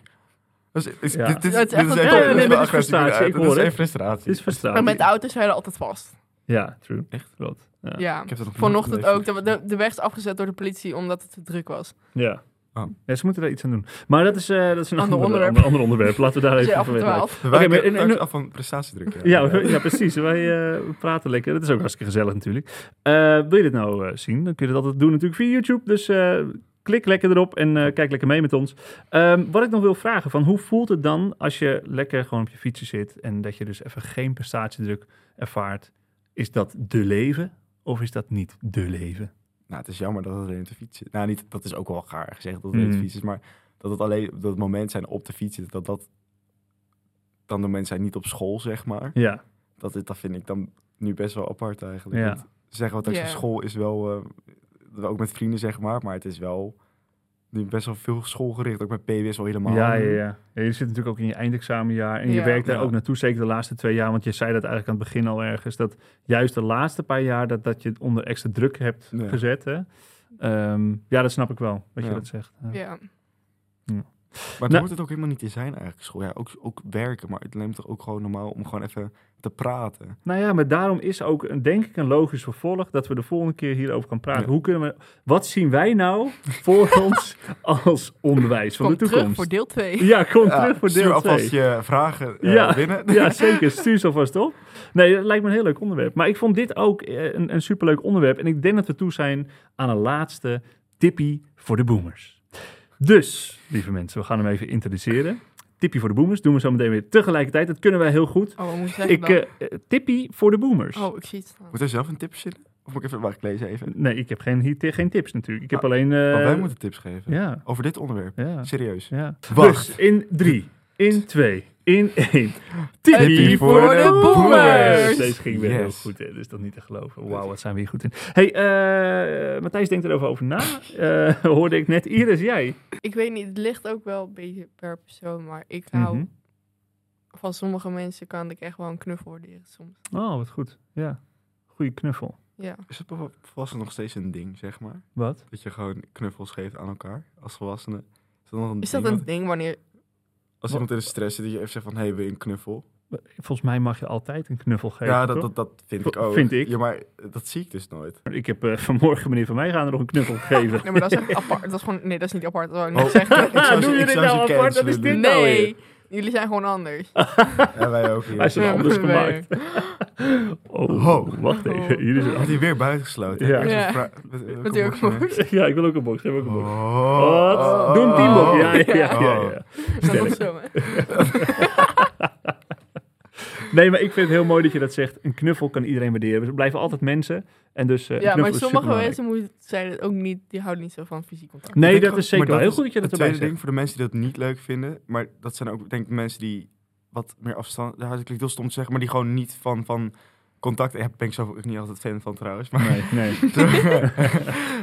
S2: Dus, is,
S1: Ja.
S2: dit, dit,
S3: Ja,
S2: dit
S3: het is echt
S2: is
S3: een-
S2: echt wel-
S3: Ja, ja,
S2: dit is
S3: nee,
S1: maar
S2: wel
S1: dit is
S2: agressie.
S1: frustratie, ik
S2: Dit
S1: hoor
S2: is
S1: het.
S2: echt frustratie.
S1: Het is frustratie.
S3: Maar met auto's zijn er altijd vast.
S1: Ja, true. Klopt. Ja.
S3: Ja.
S2: Ik heb dat nog nooit
S3: Vanochtend ook.
S2: beleefd.
S3: De, de, de weg is afgezet door de politie omdat het te druk was.
S1: Ja.
S2: Oh.
S1: Ja, ze moeten daar iets aan doen. Maar dat is, eh, dat is een ander
S3: Ander
S1: onderwerp.
S3: onderwerp.
S1: Ander, ander onderwerp. Laten we daar
S3: Dus
S1: even
S3: ja,
S1: van
S3: af en
S1: weg.
S3: twaalf.
S2: We
S1: Oké,
S2: wijken
S1: maar in-
S2: straks
S1: in-
S2: af van prestatiedruk.
S1: Ja, we- ja, precies. Wij eh, we praten lekker. Dat is ook hartstikke gezellig natuurlijk. Eh, wil je dit nou eh, zien? Dan kun je dat altijd doen natuurlijk via YouTube. Dus eh, klik lekker erop en eh, kijk lekker mee met ons. Ehm, wat ik nog wil vragen, van hoe voelt het dan als je lekker gewoon op je fietsje zit en dat je dus even geen prestatiedruk ervaart? Is dat de leven of is dat niet de leven?
S2: Nou, het is jammer dat het alleen op de fiets zit. Nou, niet, dat is ook wel gaar gezegd dat het alleen op
S1: Mm.
S2: de fiets is. Maar dat het alleen dat het moment zijn op de fiets zit, dat dat dan de mensen zijn niet op school, zeg maar.
S1: Ja,
S2: Dat, is- dat vind ik dan nu best wel apart eigenlijk.
S1: Ja.
S2: Want Zeggen wat ik
S3: Ja.
S2: op school is wel, eh, ook met vrienden zeg maar, maar het is wel nu best wel veel schoolgericht. Ook met PW is wel helemaal.
S1: ja, ja, ja. Ja, Je zit natuurlijk ook in je eindexamenjaar en je
S3: Ja.
S1: werkt daar
S2: Ja.
S1: ook naartoe, zeker de laatste twee jaar. Want je zei dat eigenlijk aan het begin al ergens, dat juist de laatste paar jaar dat, dat je het onder extra druk hebt
S2: Ja.
S1: gezet. Hè? Ehm, ja, dat snap ik wel, dat je
S2: Ja.
S1: dat zegt. Ja.
S3: Ja.
S2: Maar
S1: Nou-
S2: het moet het ook helemaal niet in zijn eigenlijk, school. Ja, ook, ook werken, maar het neemt toch ook gewoon normaal om gewoon even te praten.
S1: Nou ja, maar daarom is ook een- denk ik een logisch vervolg dat we de volgende keer hierover gaan praten.
S2: Ja.
S1: Hoe kunnen we, wat zien wij nou voor ons als onderwijs van
S3: Kom
S1: de
S3: terug
S1: toekomst?
S3: voor deel 2.
S1: Ja, kom
S2: Ja,
S1: terug voor
S2: stuur
S1: deel 2.
S2: alvast je vragen eh,
S1: Ja.
S2: binnen.
S1: Ja, zeker. Stuur ze alvast op. Nee, dat lijkt me een heel leuk onderwerp. Maar ik vond dit ook eh, een, een superleuk onderwerp. En ik denk dat we toe zijn aan een laatste tippie voor de boomers. Dus, lieve mensen, we gaan hem even introduceren. Tippie voor de boomers doen we zo meteen weer tegelijkertijd. Dat kunnen wij heel goed.
S3: Oh, wat moet ik zeggen
S1: Ik,
S3: dan?
S1: eh, eh, tippie voor de boomers.
S3: Oh, ik zie het staan.
S2: Moet er zelf een tip zitten? Of moet ik even, wacht, ik lees even.
S1: Nee, ik heb geen, hier- geen tips natuurlijk. Ik heb
S2: Ah,
S1: alleen... eh,
S2: Maar wij moeten tips geven.
S1: Ja,
S2: Over dit onderwerp.
S1: ja,
S2: Serieus.
S1: ja.
S2: Wacht.
S1: Dus in drie, in twee, in één. Tippie,
S2: Tippie
S1: voor,
S2: voor
S1: de,
S2: de
S1: boomers.
S2: boomers.
S1: Deze ging weer heel
S2: Yes.
S1: goed, hè. Dus dat niet te geloven. Wauw, wat zijn we hier goed in. hey, eh, Matthijs denkt erover over na. Eh, hoorde ik net. Iris, jij?
S3: Ik weet niet, het ligt ook wel een beetje per persoon, maar ik hou
S1: Mhm.
S3: van sommige mensen kan ik echt wel een knuffel waarderen soms.
S1: Oh, wat goed. Ja. Goeie knuffel.
S3: Ja.
S2: Is het bij volwassenen nog steeds een ding, zeg maar?
S1: Wat?
S2: Dat je gewoon knuffels geeft aan elkaar als volwassenen? Is dat nog een
S3: Is
S2: ding?
S3: dat een
S2: Want
S3: ding wanneer...
S2: Als iemand in de stress zit, dat je even zegt van, hé, hey, wil je een knuffel?
S1: Volgens mij mag je altijd een knuffel geven,
S2: ja, dat,
S1: toch?
S2: dat, dat vind
S1: Vo-
S2: ik ook.
S1: vind ik.
S2: Ja, maar dat zie ik dus nooit.
S1: Ik heb eh, vanmorgen meneer Van Meijgaan nog een knuffel gegeven.
S3: Nee, maar dat is echt apart. Dat is gewoon... Nee, dat is niet apart. Dat wou ik
S2: Oh.
S3: niet zeggen.
S2: Ik zou ze-
S1: Doe je
S2: ik
S1: dit
S2: zou ze
S1: nou apart? Wat is
S2: cancelen.
S1: dit nou weer?
S3: Nee, jullie zijn gewoon anders.
S2: Ja, wij ook hier.
S1: Hij is er Ah, anders
S3: Nee.
S1: gemaakt. Oh,
S2: Ho.
S1: wacht even.
S3: Oh.
S1: Hier is
S2: Wordt
S1: een...
S2: hij weer buitengesloten?
S1: Ja.
S3: Ja. Met die ook
S2: Doen
S1: Ja, ik wil ook een box. Ik wil ook een box. Wat?
S2: Oh.
S1: Doe een teambox. Ja, ja, ja.
S2: Oh.
S1: ja, ja.
S3: Dat
S1: Sterk.
S3: is zo, hè?
S1: Nee, maar ik vind het heel mooi dat je dat zegt. Een knuffel kan iedereen waarderen. We blijven altijd mensen. En dus, eh, een
S3: Ja, maar
S1: knuffel is
S3: sommige
S1: superbelangrijk.
S3: mensen moeten, zijn het ook niet, die houden niet zo van fysiek contact.
S1: Nee,
S2: Ik denk
S1: dat is
S2: ook-
S1: zeker
S2: maar
S1: wel. Heel goed dat je dat
S2: het
S1: erbij
S2: tweede
S1: zegt.
S2: ding voor de mensen die dat niet leuk vinden. Maar dat zijn ook, denk ik, mensen die wat meer afstand... Ja, dat klinkt heel stom te zeggen, maar die gewoon niet van, van contact... Ja, ben ik zo ook niet altijd fan van trouwens. Maar,
S1: Nee, nee.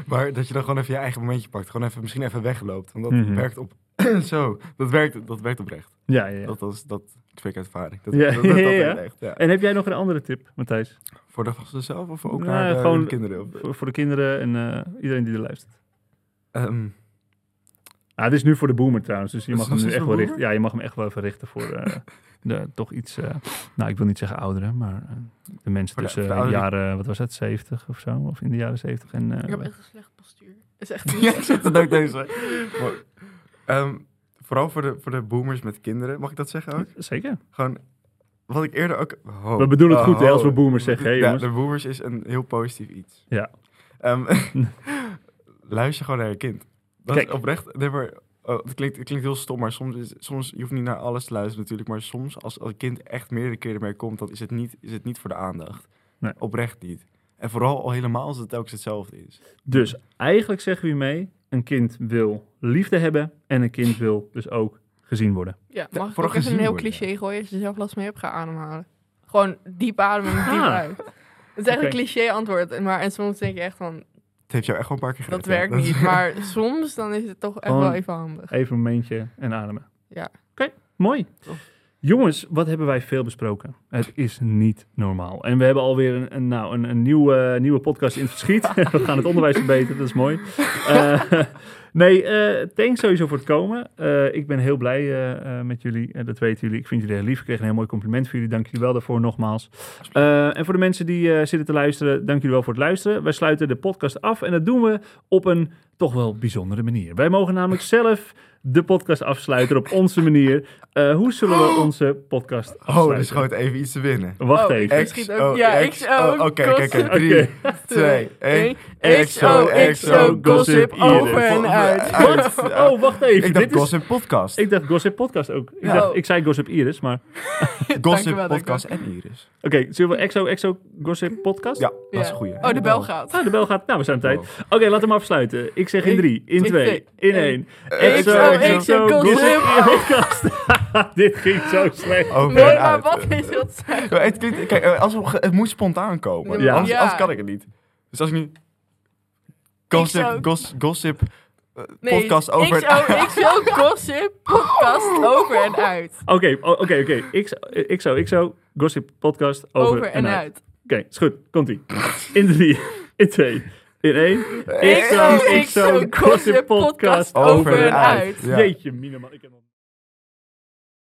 S2: maar dat je dan gewoon even je eigen momentje pakt. Gewoon even, misschien even wegloopt. Want dat
S1: Mhm.
S2: werkt op... zo, dat werkt, dat werkt oprecht.
S1: Ja, ja, ja.
S2: Dat, dat, is, dat spreek uit ervaring. Dat,
S1: Ja,
S2: dat, dat, dat
S1: ja, ja.
S2: werkt echt, ja.
S1: En heb jij nog een andere tip, Matthijs?
S2: Voor de vaste zelf of ook
S1: Nou,
S2: naar de,
S1: gewoon-
S2: de kinderen? Of-
S1: Voor, voor de kinderen en eh, iedereen die er luistert.
S2: Ehm,
S1: Ah, het is nu voor de boomer trouwens, dus je
S2: Is
S1: mag
S2: het
S1: hem nu
S2: nog
S1: echt
S2: steeds
S1: wel
S2: voor
S1: richten. Ja, je mag hem echt wel even richten voor eh, de, toch iets, eh, nou ik wil niet zeggen ouderen, maar eh, de mensen
S2: Voor de-
S1: tussen
S2: voor
S1: de,
S2: de ouderen.
S1: jaren, wat was het, 70 of zo? Of in de jaren 70 en... eh,
S3: Ik heb echt een slecht postuur. Dat is echt
S2: Ja, ik zit er ook deze. Maar, ehm, vooral voor de, voor de boomers met kinderen, mag ik dat zeggen ook?
S1: Zeker.
S2: Gewoon, wat ik eerder ook... Ho,
S1: We bedoelen het
S2: ho,
S1: goed, hè, als we
S2: ho.
S1: boomers zeggen, hè, jongens?
S2: Oh. Ja, de boomers is een heel positief iets.
S1: Ja.
S2: Ehm, luister gewoon naar je kind. Dat
S1: Kijk.
S2: is oprecht... Nee, maar, oh, het, klinkt, het klinkt heel stom, maar soms, is, soms... Je hoeft niet naar alles te luisteren natuurlijk, maar soms als als een kind echt meerdere keren ermee komt, dan is het niet, is het niet voor de aandacht.
S1: Nee.
S2: Oprecht niet. En vooral al helemaal als het telkens hetzelfde is.
S1: Dus eigenlijk zeggen we hiermee, een kind wil liefde hebben en een kind wil dus ook gezien worden.
S3: Ja,
S2: Ja,
S3: mag ik
S2: vooral
S3: ook even een
S2: gezien
S3: heel
S2: worden, ja.
S3: cliché gooien? Als je er zelf last mee hebt, ga ademhalen. Gewoon diep ademen, diep
S1: Ah.
S3: uit. Het is echt
S1: Oké.
S3: een cliché antwoord. Maar en soms denk ik echt van,
S2: Het heeft jou echt wel een paar keer
S3: dat
S2: gered, hè?
S3: werkt niet. Maar soms dan is het toch echt wel
S1: Gewoon-
S3: even handig.
S1: Even een momentje en ademen.
S3: Ja.
S1: Oké, mooi.
S2: Tof.
S1: Jongens, wat hebben wij veel besproken? Het is niet normaal. En we hebben alweer een, een, nou, een, een nieuwe, nieuwe podcast in het verschiet. we gaan het onderwijs verbeteren, dat is mooi. Eh, Nee, eh thanks sowieso voor het komen. Eh, ik ben heel blij eh, eh, met jullie. Eh, dat weten jullie. Ik vind jullie heel lief. Ik kreeg een heel mooi compliment voor jullie. Dank jullie wel daarvoor nogmaals. Eh, en voor de mensen die eh, zitten te luisteren, dank jullie wel voor het luisteren. Wij sluiten de podcast af en dat doen we op een toch wel bijzondere manier. Wij mogen namelijk zelf de podcast afsluiten op onze manier. Eh, hoe zullen we onze podcast
S2: Oh, er
S1: afsluiten?
S2: schoot even iets te winnen.
S1: Wacht
S3: Oh,
S1: even.
S3: ik schiet ook. Ja,
S2: XO,
S3: ik ook.
S2: oh, Oké, kijk, kijk.
S3: Gossip.
S2: Drie,
S1: Oké.
S2: twee, één.
S3: XO, XO, Oh, gossip, over en uit.
S1: Wat? Oh, wacht even.
S2: Ik dacht
S1: Dit is-
S2: Gossip Podcast.
S1: Ik dacht Gossip Podcast ook. Ik,
S2: Ja.
S1: dacht, ik zei Gossip Iris, maar...
S2: Gossip
S3: dankjewel,
S2: Podcast en Iris.
S1: Oké, zullen we Exo Exo Gossip Podcast?
S2: Ja, dat is
S3: Ja.
S2: een goeie.
S3: Oh, de bel gaat.
S1: Ah, de bel gaat. Nou, we zijn op tijd.
S2: Wow.
S1: Oké, laat hem afsluiten. Ik zeg in
S3: Ik-
S1: drie, in
S3: ik
S1: twee,
S3: zeg-
S1: in
S3: eh,
S1: één.
S2: Exo,
S3: Exo,
S1: Gossip
S3: Gossip.
S1: Podcast. Dit ging zo slecht.
S2: Over
S3: Nee,
S2: en
S3: maar
S2: Oh, uit.
S3: wat is dat? zijn?
S2: Ja, Het, klinkt- kijk, eh, als we, ge- het moet spontaan komen.
S1: Ja.
S2: Anders,
S3: Ja.
S2: anders kan ik het niet. Dus als ik nu... Gossip,
S3: zou-
S2: gos- gossip, eh,
S3: Nee,
S2: podcast over... en uit.
S3: XO, XO, gossip, podcast over en uit.
S1: Oké, o- oké, oké. Exo, Exo Exo Gossip Podcast over, en uit. Oké, is goed. Komt-ie. In drie, in twee, in één.
S3: XO, XO, gossip, podcast over en uit.
S2: Ja.
S1: Jeetje, mine man. Ik heb nog-